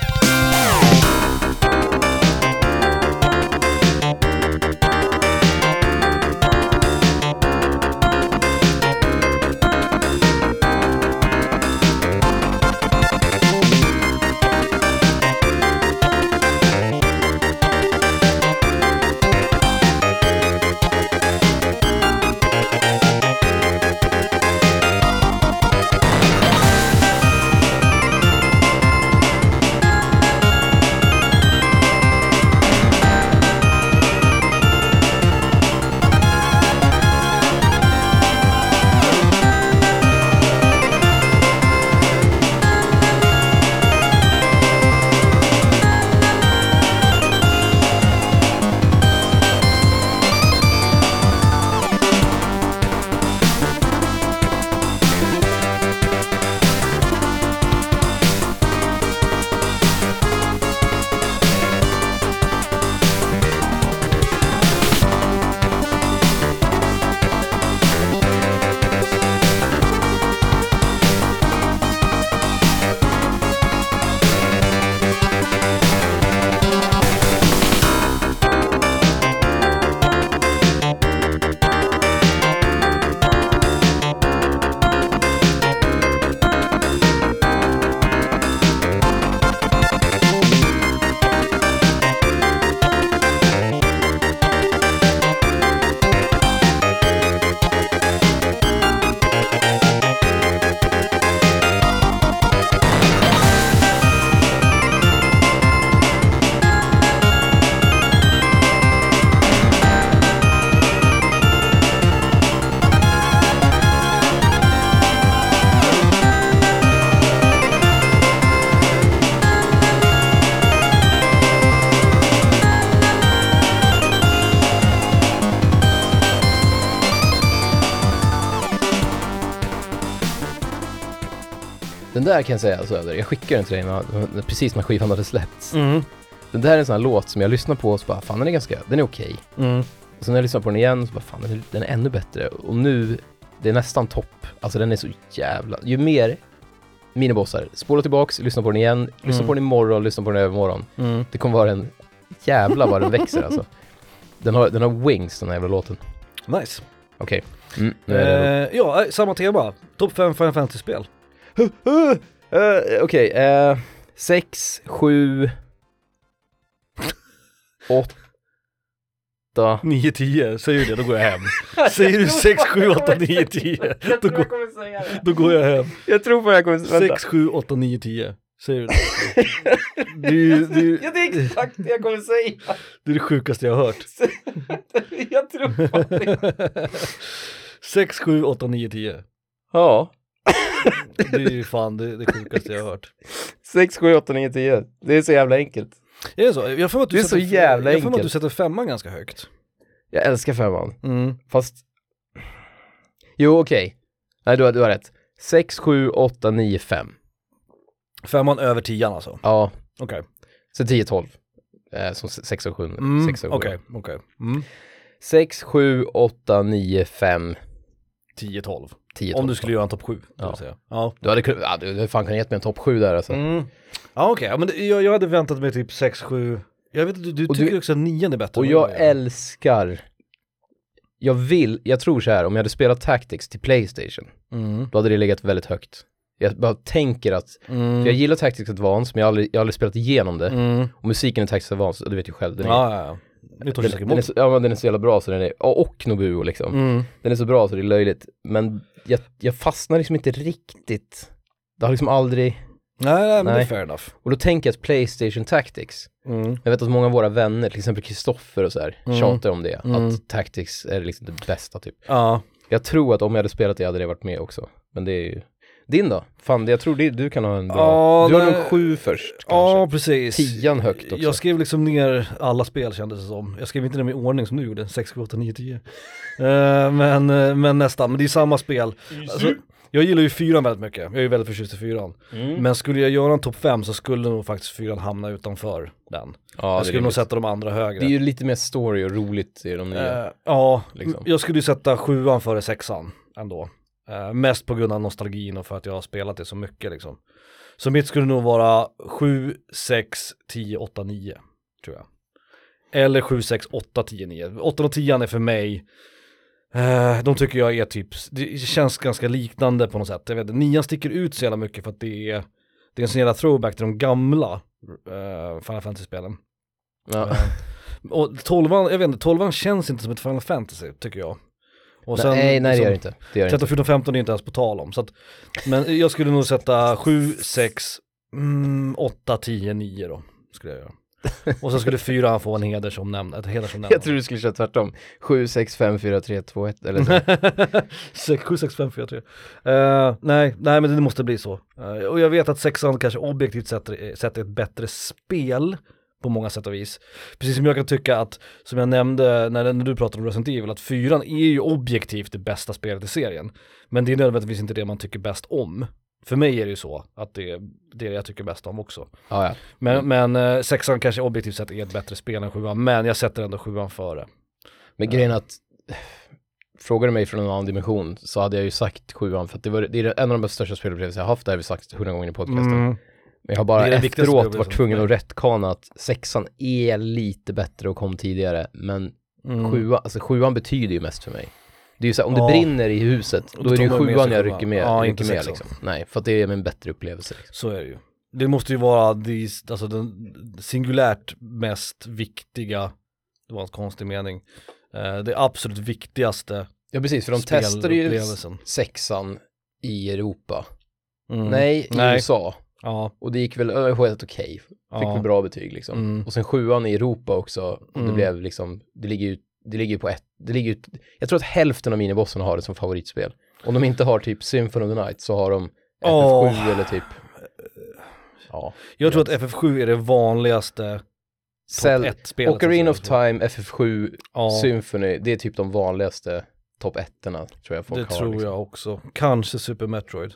[SPEAKER 2] Den där kan jag säga Söder, jag skickar den till dig när, precis när skivan hade släppts.
[SPEAKER 1] Mm.
[SPEAKER 2] Den där är en sån här låt som jag lyssnar på och så bara, fan den är ganska, den är okej.
[SPEAKER 1] Mm.
[SPEAKER 2] Och sen när jag lyssnar på den igen så bara, fan den är, den är ännu bättre. Och nu, det är nästan topp. Alltså den är så jävla, ju mer minibossar, spola tillbaks, lyssna på den igen, lyssna
[SPEAKER 1] Mm.
[SPEAKER 2] på den imorgon, lyssna på den i övermorgon.
[SPEAKER 1] Mm.
[SPEAKER 2] Det kommer vara en jävla vad den växer alltså. Den har, den har wings den här jävla låten.
[SPEAKER 1] Nice.
[SPEAKER 2] Okej, mm, nu är det
[SPEAKER 1] Eh, ja, eh, samma tema. Topp 5 Final Fantasy-spel.
[SPEAKER 2] Uh, eh, Okej, eh, sex, sju, åtta.
[SPEAKER 1] 9, 10, säger du det då går jag hem. Säger du 6, 7, 8, 9, 10, då går,
[SPEAKER 2] kommer säga det.
[SPEAKER 1] då går jag hem.
[SPEAKER 2] Jag tror på jag kommer vänta.
[SPEAKER 1] 6, 7, 8, 9, 10, säger du det? Det är, ju- det, är, ju-
[SPEAKER 2] det är exakt det jag kommer säga.
[SPEAKER 1] det är det sjukaste jag har hört.
[SPEAKER 2] jag tror på
[SPEAKER 1] 6, 7, 8, 9, 10.
[SPEAKER 2] Ja,
[SPEAKER 1] Det är ju fan det, det sjukaste jag har hört.
[SPEAKER 2] sex, sju, åtta, nio, tio. Det är så jävla enkelt.
[SPEAKER 1] Är det så? Jag får att du
[SPEAKER 2] Det är så
[SPEAKER 1] sätter,
[SPEAKER 2] jävla
[SPEAKER 1] Jag får att du
[SPEAKER 2] enkelt.
[SPEAKER 1] sätter femman ganska högt.
[SPEAKER 2] Jag älskar femman,
[SPEAKER 1] Mm.
[SPEAKER 2] fast... Jo, okej. Nej, du har, du har rätt. Sex, sju, åtta, nio, fem.
[SPEAKER 1] Femman över tian alltså.
[SPEAKER 2] Ja,
[SPEAKER 1] Okej.
[SPEAKER 2] så 10, 12. Eh, som 6 och 7.
[SPEAKER 1] Mm,
[SPEAKER 2] sex och sju.
[SPEAKER 1] Okej, okej. Mm.
[SPEAKER 2] 6, 7, 8, 9, 5,
[SPEAKER 1] 10, 12.
[SPEAKER 2] 10,
[SPEAKER 1] Om du skulle göra en topp 7,
[SPEAKER 2] Ja.
[SPEAKER 1] ja. säga. Ja.
[SPEAKER 2] Du hade kunnat, ja, du hade fan kunnat gett mig en topp 7 där alltså.
[SPEAKER 1] Mm. Ja okej, ja, men det- jag, jag hade väntat mig typ 6, 7, jag vet inte, du, du
[SPEAKER 2] Och
[SPEAKER 1] tycker
[SPEAKER 2] du-
[SPEAKER 1] också att nian är bättre.
[SPEAKER 2] Och
[SPEAKER 1] än
[SPEAKER 2] jag
[SPEAKER 1] vad gör.
[SPEAKER 2] älskar, jag vill, jag tror så här, om jag hade spelat Tactics till Playstation,
[SPEAKER 1] Mm.
[SPEAKER 2] då hade det legat väldigt högt. Jag bara tänker att, för jag
[SPEAKER 1] Mm.
[SPEAKER 2] gillar Tactics Advance, men jag har aldrig, jag har aldrig spelat igenom det.
[SPEAKER 1] Mm.
[SPEAKER 2] Och musiken i Tactics Advance, du vet ju själv, den är,
[SPEAKER 1] Ja, ja, ja. Det tar
[SPEAKER 2] den,
[SPEAKER 1] sig säkert
[SPEAKER 2] den, är,
[SPEAKER 1] emot.
[SPEAKER 2] så- ja, men den är så jävla bra så den är, och, och Nobuo liksom.
[SPEAKER 1] Mm.
[SPEAKER 2] Den är så bra så det är löjligt. Men jag, jag fastnar liksom inte riktigt. Det har liksom aldrig,
[SPEAKER 1] Nej, nej, men det är
[SPEAKER 2] Nej.
[SPEAKER 1] fair enough.
[SPEAKER 2] Och då tänker jag att Playstation Tactics,
[SPEAKER 1] Mm.
[SPEAKER 2] jag vet att många av våra vänner, till exempel Kristoffer och så här,
[SPEAKER 1] Mm.
[SPEAKER 2] tjatar om det.
[SPEAKER 1] Mm.
[SPEAKER 2] Att Tactics är liksom det bästa typ.
[SPEAKER 1] Ja,
[SPEAKER 2] Jag tror att om jag hade spelat det hade det varit med också. Men det är ju... Din då? Fan, det- jag tror det, du kan ha en bra...
[SPEAKER 1] Ja,
[SPEAKER 2] du har
[SPEAKER 1] nej.
[SPEAKER 2] nog sju först kanske.
[SPEAKER 1] ja precis.
[SPEAKER 2] Tian högt också.
[SPEAKER 1] Jag skrev liksom ner alla spel kändes det som. Jag skrev inte dem i ordning som du gjorde, 6, 7, 8, 9, 10. Eh, men, eh, men nästan, men det är samma spel. Alltså, jag gillar ju fyran väldigt mycket, jag är ju väldigt förtjust i fyran. Men skulle jag göra en topp 5 så skulle nog faktiskt fyran hamna utanför den.
[SPEAKER 2] ja,
[SPEAKER 1] jag
[SPEAKER 2] det, är
[SPEAKER 1] skulle nog
[SPEAKER 2] rimligt.
[SPEAKER 1] sätta de andra högre.
[SPEAKER 2] det är ju lite mer story och roligt i de nya.
[SPEAKER 1] Eh, ja,
[SPEAKER 2] liksom.
[SPEAKER 1] jag skulle ju sätta sjuan före sexan ändå. Eh, mest på grund av nostalgin och för att jag har spelat det så mycket liksom. Så mitt skulle nog vara 7, 6, 10, 8, 9 tror jag. Eller 7, 6, 8, 10, 9. 8 och 10 är för mig, eh, de tycker jag är typ, det känns ganska liknande på något sätt. Jag vet inte, 9 sticker ut så jävla mycket för att det är, det är en sån jävla throwback till de gamla eh, Final Fantasy-spelen.
[SPEAKER 2] ja.
[SPEAKER 1] Och tolvan, jag vet inte, tolvan känns inte som ett Final Fantasy tycker jag. Och
[SPEAKER 2] nej, nej det gör det
[SPEAKER 1] liksom,
[SPEAKER 2] inte. Det gör det inte.
[SPEAKER 1] 13, 14, 15 är inte ens på tal om. Så att, men jag skulle nog sätta 7, 6, mm, 8, 10, 9 då. Skulle jag göra. Och sen skulle fyran få en hedersomnämnande, ett
[SPEAKER 2] Jag
[SPEAKER 1] hedersomnämnande.
[SPEAKER 2] tror du skulle köra tvärtom. 7, 6, 5, 4, 3, 2, 1 eller så.
[SPEAKER 1] 6, 7, 6, 5, 4, 3. Eh, nej, nej men det måste bli så. Eh, och jag vet att sexan kanske objektivt sett, är- sett är ett bättre spel på många sätt och vis. Precis som jag kan tycka att, som jag nämnde när, när du pratade om Resident Evil, att fyran är ju objektivt det bästa spelet i serien. Men det är nödvändigtvis inte det man tycker bäst om. För mig är det ju så att det är det jag tycker bäst om också.
[SPEAKER 2] Ja, ja.
[SPEAKER 1] Men, men eh, sexan kanske objektivt sett är ett bättre spel än sjuan, men jag sätter ändå sjuan före.
[SPEAKER 2] Men grejen är att, frågar du mig från en annan dimension så hade jag ju sagt sjuan för att det, var, det är en av de största spelupplevelser jag haft, det har vi sagt hundra gånger i podcasten. Men jag har bara
[SPEAKER 1] Mm. Det är den viktigaste
[SPEAKER 2] efteråt varit
[SPEAKER 1] upplevelsen.
[SPEAKER 2] tvungen att rättkana att sexan är lite bättre och kom tidigare, men
[SPEAKER 1] Mm.
[SPEAKER 2] sjuan, alltså sjuan betyder ju mest för mig. Det är ju så här, om
[SPEAKER 1] Ja.
[SPEAKER 2] det brinner i huset, då
[SPEAKER 1] Då
[SPEAKER 2] är det ju
[SPEAKER 1] tar man med sig
[SPEAKER 2] sjuan jag
[SPEAKER 1] sjuan.
[SPEAKER 2] rycker med.
[SPEAKER 1] Ja,
[SPEAKER 2] rycker
[SPEAKER 1] inte
[SPEAKER 2] med
[SPEAKER 1] sexan.
[SPEAKER 2] liksom. Nej, för att det är en bättre upplevelse. Liksom.
[SPEAKER 1] Så är det ju. Det måste ju vara det, alltså den singulärt mest viktiga, det var en konstig mening, eh, det absolut viktigaste
[SPEAKER 2] Ja, precis, för de testade ju
[SPEAKER 1] spelupplevelsen.
[SPEAKER 2] sexan i Europa.
[SPEAKER 1] Mm.
[SPEAKER 2] Nej, i
[SPEAKER 1] Nej.
[SPEAKER 2] USA.
[SPEAKER 1] Ja,
[SPEAKER 2] Och det gick väl ö, helt okej. Fick
[SPEAKER 1] ja.
[SPEAKER 2] väl bra betyg liksom.
[SPEAKER 1] Mm.
[SPEAKER 2] Och sen sjuan i Europa också, och det
[SPEAKER 1] Mm.
[SPEAKER 2] blev liksom, det ligger ju det ligger ju på ett, det ligger ju, jag tror att hälften av minibossarna har det som favoritspel. Om de inte har typ Symphony of the Night så har de FF7
[SPEAKER 1] Åh.
[SPEAKER 2] eller typ, ja,
[SPEAKER 1] Jag tror att FF7 är det vanligaste topp
[SPEAKER 2] Cell,
[SPEAKER 1] 1-spelet.
[SPEAKER 2] Ocarina of Time, FF7,
[SPEAKER 1] alltså, ja,
[SPEAKER 2] Symphony, det är typ de vanligaste topp ettorna tror jag folk
[SPEAKER 1] det
[SPEAKER 2] har.
[SPEAKER 1] tror
[SPEAKER 2] liksom.
[SPEAKER 1] jag också. Kanske Super Metroid.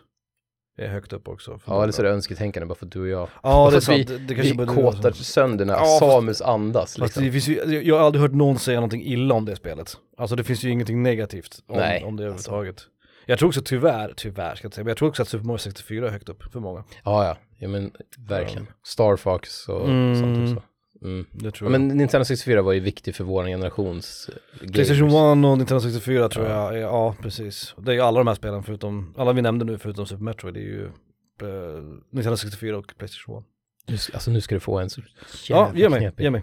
[SPEAKER 1] är högt upp också.
[SPEAKER 2] Ja, eller så är det önsketänkande bara för att du och jag.
[SPEAKER 1] Ja, det är
[SPEAKER 2] Fast vi,
[SPEAKER 1] sant. Det, det kanske
[SPEAKER 2] vi
[SPEAKER 1] bara du och jag
[SPEAKER 2] kåtar
[SPEAKER 1] som-
[SPEAKER 2] sönder när
[SPEAKER 1] Ja, fast-
[SPEAKER 2] Samus andas
[SPEAKER 1] Fast
[SPEAKER 2] liksom.
[SPEAKER 1] Alltså, det finns ju, jag har aldrig hört någon säga någonting illa om det spelet. Alltså det finns ju ingenting negativt om,
[SPEAKER 2] Nej, alltså.
[SPEAKER 1] om det överhuvudtaget. Jag tror också tyvärr, tyvärr ska jag inte säga, men jag tror också att Super Mario 64 är högt upp för många.
[SPEAKER 2] Ja, ja. ja, men verkligen. Star Fox och
[SPEAKER 1] Mm.
[SPEAKER 2] sånt också. Mm.
[SPEAKER 1] Det tror
[SPEAKER 2] Ja,
[SPEAKER 1] jag.
[SPEAKER 2] men Nintendo 64 var ju viktig för vår generations eh,
[SPEAKER 1] Playstation
[SPEAKER 2] gamers.
[SPEAKER 1] 1 och Nintendo 64 tror jag, är, ja precis. Det är ju alla de här spelen förutom, alla vi nämnde nu förutom Super Metroid, det är ju eh, Nintendo 64 och Playstation 1.
[SPEAKER 2] Nu ska- Alltså nu ska du få en så
[SPEAKER 1] Ja,
[SPEAKER 2] jävla
[SPEAKER 1] ge mig,
[SPEAKER 2] knepig.
[SPEAKER 1] ge mig.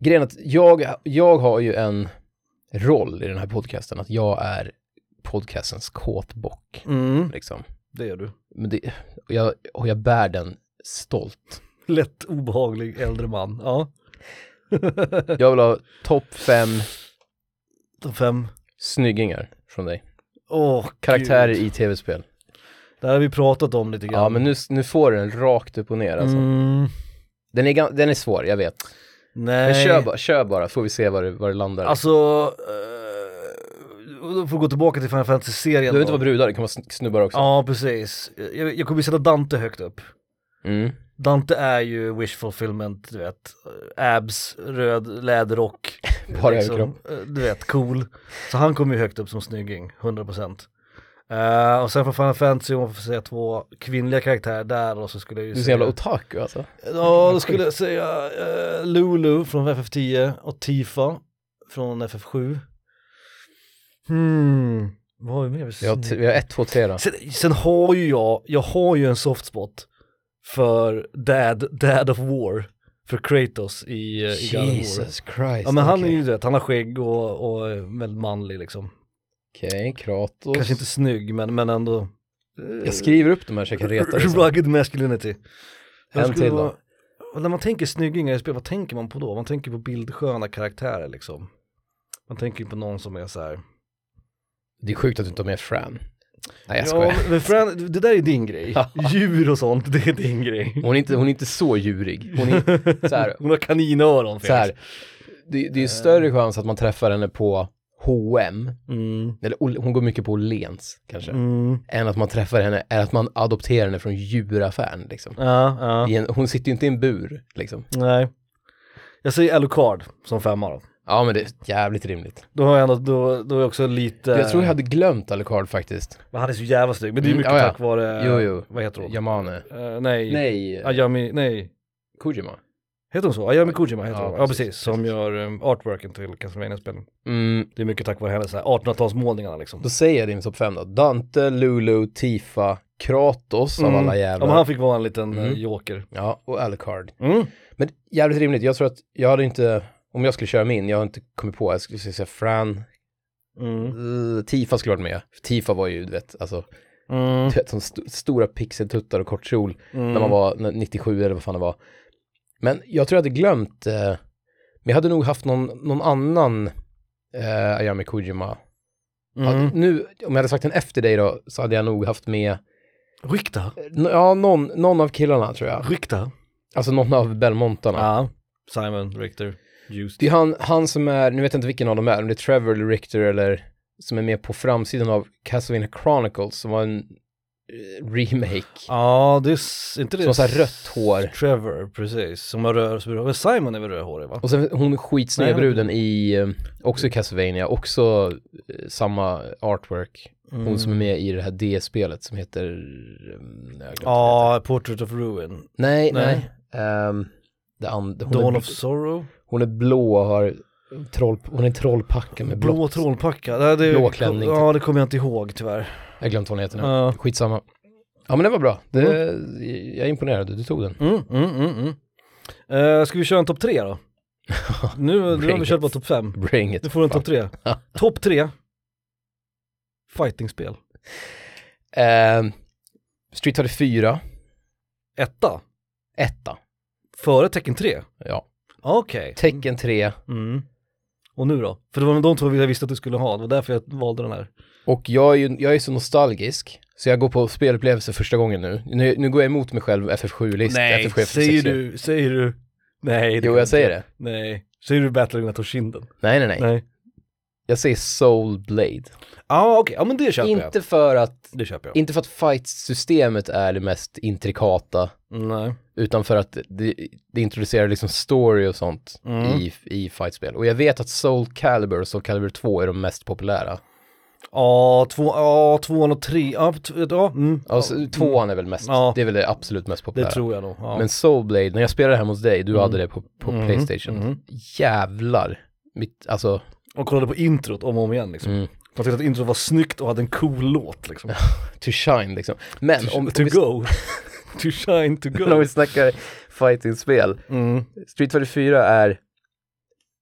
[SPEAKER 2] Grejen är att jag, jag har ju en roll i den här podcasten, att jag är podcastens kåtbock.
[SPEAKER 1] Mm,
[SPEAKER 2] Liksom.
[SPEAKER 1] det gör du.
[SPEAKER 2] Men det, och, jag, och jag bär den stolt.
[SPEAKER 1] Lätt obehaglig äldre man, ja.
[SPEAKER 2] Jag vill ha topp fem
[SPEAKER 1] De fem.
[SPEAKER 2] snyggingar från dig.
[SPEAKER 1] Åh,
[SPEAKER 2] Karaktärer
[SPEAKER 1] gud.
[SPEAKER 2] i tv-spel.
[SPEAKER 1] Det här har vi pratat om lite grann.
[SPEAKER 2] Ja, men nu, nu får du den rakt upp och ner alltså.
[SPEAKER 1] Mm,
[SPEAKER 2] Den, är, gam- den är svår, jag vet.
[SPEAKER 1] nej.
[SPEAKER 2] Men kör bara, kör bara, får vi se var det, var det landar.
[SPEAKER 1] Alltså, eh, då får vi gå tillbaka till Final
[SPEAKER 2] du
[SPEAKER 1] Fantasy-serien
[SPEAKER 2] behöver inte
[SPEAKER 1] då.
[SPEAKER 2] vara brudar, det kan vara sn- snubbar också.
[SPEAKER 1] Ja, precis. Jag, jag kommer ju sätta Dante högt upp.
[SPEAKER 2] Mm.
[SPEAKER 1] Dante är ju wish fulfillment, du vet, abs, röd läderrock,
[SPEAKER 2] Bara överkropp.
[SPEAKER 1] eh, du vet, cool. Så han kommer ju högt upp som snygging, 100%. Eh, och sen från Final Fantasy, om man får säga två kvinnliga karaktärer där och så skulle jag ju
[SPEAKER 2] Du är så
[SPEAKER 1] säga...
[SPEAKER 2] jävla otaku alltså.
[SPEAKER 1] Ja, då skulle jag säga eh, Lulu från FF10 och Tifa från FF7. Hmm, vad har vi mer?
[SPEAKER 2] Vi har, t- vi har ett, två, tre då.
[SPEAKER 1] Sen, sen har ju jag, jag har ju en soft spot för Dad, Dad of War, för Kratos i, eh, i God of War.
[SPEAKER 2] Christ.
[SPEAKER 1] Ja men han är
[SPEAKER 2] okej.
[SPEAKER 1] ju det, han har skägg och, och är väldigt manlig liksom.
[SPEAKER 2] Okej, Kratos.
[SPEAKER 1] Kanske inte snygg men, men ändå. eh,
[SPEAKER 2] Jag skriver upp de här så jag kan reta dig. sen.
[SPEAKER 1] Rugged masculinity. Jag
[SPEAKER 2] En
[SPEAKER 1] skulle
[SPEAKER 2] till då.
[SPEAKER 1] vara- och När man tänker snyggingar i spel, vad tänker man på då? Man tänker på bildsköna karaktärer liksom. Man tänker ju på någon som är så här.
[SPEAKER 2] Det är sjukt att du inte har med Fran. Nej jag
[SPEAKER 1] Ja,
[SPEAKER 2] skojar.
[SPEAKER 1] men Fran, det där är din grej. Djur och sånt, det är din grej.
[SPEAKER 2] Hon är inte, hon är inte så djurig. Hon är så här,
[SPEAKER 1] Hon har kaninöron. Felix.
[SPEAKER 2] Mm. så här. Det, det är ju större
[SPEAKER 1] Eh.
[SPEAKER 2] chans att man träffar henne på H&M
[SPEAKER 1] Mm.
[SPEAKER 2] eller Ol- hon går mycket på Åhléns kanske,
[SPEAKER 1] Mm.
[SPEAKER 2] än att man träffar henne, är att man adopterar henne från djuraffären liksom.
[SPEAKER 1] Ja, ja.
[SPEAKER 2] I en, hon sitter ju inte i en bur liksom.
[SPEAKER 1] Nej. Jag säger Alucard som femma då.
[SPEAKER 2] Ja men det är jävligt rimligt.
[SPEAKER 1] Då har jag ändå, då, då är jag också lite...
[SPEAKER 2] Jag tror jag hade glömt Alucard faktiskt.
[SPEAKER 1] Men han är så jävla snygg, men det är ju
[SPEAKER 2] Mm,
[SPEAKER 1] mycket
[SPEAKER 2] ja, ja.
[SPEAKER 1] tack vare...
[SPEAKER 2] Jo, jo.
[SPEAKER 1] Vad heter hon?
[SPEAKER 2] Yamane.
[SPEAKER 1] Eh, nej.
[SPEAKER 2] Nej,
[SPEAKER 1] Ayami, nej.
[SPEAKER 2] Kojima.
[SPEAKER 1] Heter hon så? Ayami Kojima heter
[SPEAKER 2] Ja,
[SPEAKER 1] hon. Ja
[SPEAKER 2] precis,
[SPEAKER 1] precis, som gör um, artworken till Castlevania-spelen.
[SPEAKER 2] Mm,
[SPEAKER 1] Det är mycket tack vare hennes 1800-talsmålningarna liksom.
[SPEAKER 2] Då säger jag din topp 5 då. Dante, Lulu, Tifa, Kratos av alla jävlar.
[SPEAKER 1] Mm. Ja, men han fick vara en liten
[SPEAKER 2] Mm.
[SPEAKER 1] eh, joker.
[SPEAKER 2] Ja, och Alucard.
[SPEAKER 1] Mm.
[SPEAKER 2] Men jävligt rimligt. Jag tror att jag hade inte, om jag skulle köra min, jag har inte kommit på, jag skulle säga Fran,
[SPEAKER 1] Mm.
[SPEAKER 2] eh, Tifa skulle varit med. Tifa var ju, du vet, alltså,
[SPEAKER 1] Mm.
[SPEAKER 2] du vet, som st- stora pixeltuttar och kort kjol
[SPEAKER 1] Mm.
[SPEAKER 2] när man var när- 97 eller vad fan det var. Men jag tror jag hade glömt, eh, men jag hade nog haft någon, någon annan eh, Ayami Kojima.
[SPEAKER 1] Mm.
[SPEAKER 2] Hade- Nu, om jag hade sagt den efter dig då, så hade jag nog haft med
[SPEAKER 1] Rykta,
[SPEAKER 2] N- Ja, någon, någon av killarna tror jag.
[SPEAKER 1] rykta.
[SPEAKER 2] Alltså någon av Belmontarna.
[SPEAKER 1] Ja. Simon, Richter, Just.
[SPEAKER 2] Det är han, han som är, nu vet jag inte vilken av dem är, om det är Trevor eller Richter eller som är med på framsidan av Castlevania Chronicles som var en eh, remake.
[SPEAKER 1] Ja, det är s- inte det.
[SPEAKER 2] Som har så här rött hår.
[SPEAKER 1] Trevor, precis. Som har rör, som men Simon är väl rödhårig va?
[SPEAKER 2] Och sen hon skitsnygga
[SPEAKER 1] Nej, jag vet
[SPEAKER 2] bruden i, eh, också i Castlevania, också eh, samma artwork. Hon
[SPEAKER 1] Mm.
[SPEAKER 2] som är med i det här D-spelet som heter... eh, jag har glömt vad det heter.
[SPEAKER 1] Ja, Portrait of Ruin.
[SPEAKER 2] Nej, nej.
[SPEAKER 1] nej.
[SPEAKER 2] Ehm, det and, hon,
[SPEAKER 1] Dawn
[SPEAKER 2] är,
[SPEAKER 1] of Sorrow.
[SPEAKER 2] hon är blå och har troll, hon är trollpacka med
[SPEAKER 1] Blå
[SPEAKER 2] blått.
[SPEAKER 1] trollpacka. Nej, det,
[SPEAKER 2] Blå klänning, typ.
[SPEAKER 1] Ja, det kommer jag inte ihåg tyvärr.
[SPEAKER 2] Jag har glömt vad hon heter nu.
[SPEAKER 1] Ja.
[SPEAKER 2] Skitsamma. Ja men det var bra. Det, Jag är imponerad, du tog den.
[SPEAKER 1] Mm, mm, mm, mm. Eh, ska vi köra en topp tre då? nu, nu har vi
[SPEAKER 2] Bring
[SPEAKER 1] kört
[SPEAKER 2] it.
[SPEAKER 1] på topp fem.
[SPEAKER 2] Bring it.
[SPEAKER 1] Nu får du en topp tre. topp tre. Fightingspel.
[SPEAKER 2] Ehm, Street Fighter 4,
[SPEAKER 1] Etta.
[SPEAKER 2] etta.
[SPEAKER 1] Före Tecken 3.
[SPEAKER 2] Ja.
[SPEAKER 1] Okej.
[SPEAKER 2] Tecken 3
[SPEAKER 1] Mm. Och nu då? För det var de två jag visste att du skulle ha, det var därför jag valde den här.
[SPEAKER 2] och jag är, ju, jag är så nostalgisk så jag går på spelupplevelser första gången nu. Nu, nu går jag emot mig själv FF7-list. FF7,
[SPEAKER 1] säger du, säger du, nej. det
[SPEAKER 2] Jo
[SPEAKER 1] kan
[SPEAKER 2] jag säger
[SPEAKER 1] inte.
[SPEAKER 2] det.
[SPEAKER 1] Nej. Säger du Battle of Toshinden?
[SPEAKER 2] Nej nej nej.
[SPEAKER 1] Nej.
[SPEAKER 2] Jag säger Soul Blade.
[SPEAKER 1] Ja, okej, ja men det köper jag.
[SPEAKER 2] Inte för att,
[SPEAKER 1] Det köper jag.
[SPEAKER 2] inte för att fight-systemet är det mest intrikata,
[SPEAKER 1] Mm, Nej.
[SPEAKER 2] utan för att det, det introducerar liksom story och sånt
[SPEAKER 1] Mm.
[SPEAKER 2] i, i fightspel. Och jag vet att Soul Calibur och Soul Calibur 2 är de mest populära.
[SPEAKER 1] Ja, två, ja, tvåan och tre, ja, t- ja, mm.
[SPEAKER 2] Alltså, Tvåan är väl mest,
[SPEAKER 1] Ja.
[SPEAKER 2] det är väl det absolut mest
[SPEAKER 1] det
[SPEAKER 2] populära.
[SPEAKER 1] tror jag nog. Ja.
[SPEAKER 2] Men Soul Blade, när jag spelade här hos dig, du hade det på, på
[SPEAKER 1] Mhm,
[SPEAKER 2] Playstation.
[SPEAKER 1] mhm.
[SPEAKER 2] Jävlar. Mitt, alltså,
[SPEAKER 1] Och kollade på introt om och om igen liksom.
[SPEAKER 2] Mm.
[SPEAKER 1] Man tyckte att introt var snyggt och hade en cool låt liksom.
[SPEAKER 2] to shine liksom. Men om,
[SPEAKER 1] to
[SPEAKER 2] om, vi,
[SPEAKER 1] go. to shine to
[SPEAKER 2] men om
[SPEAKER 1] go.
[SPEAKER 2] vi snackar fighting-spel,
[SPEAKER 1] Mm.
[SPEAKER 2] Street Fighter 4 är,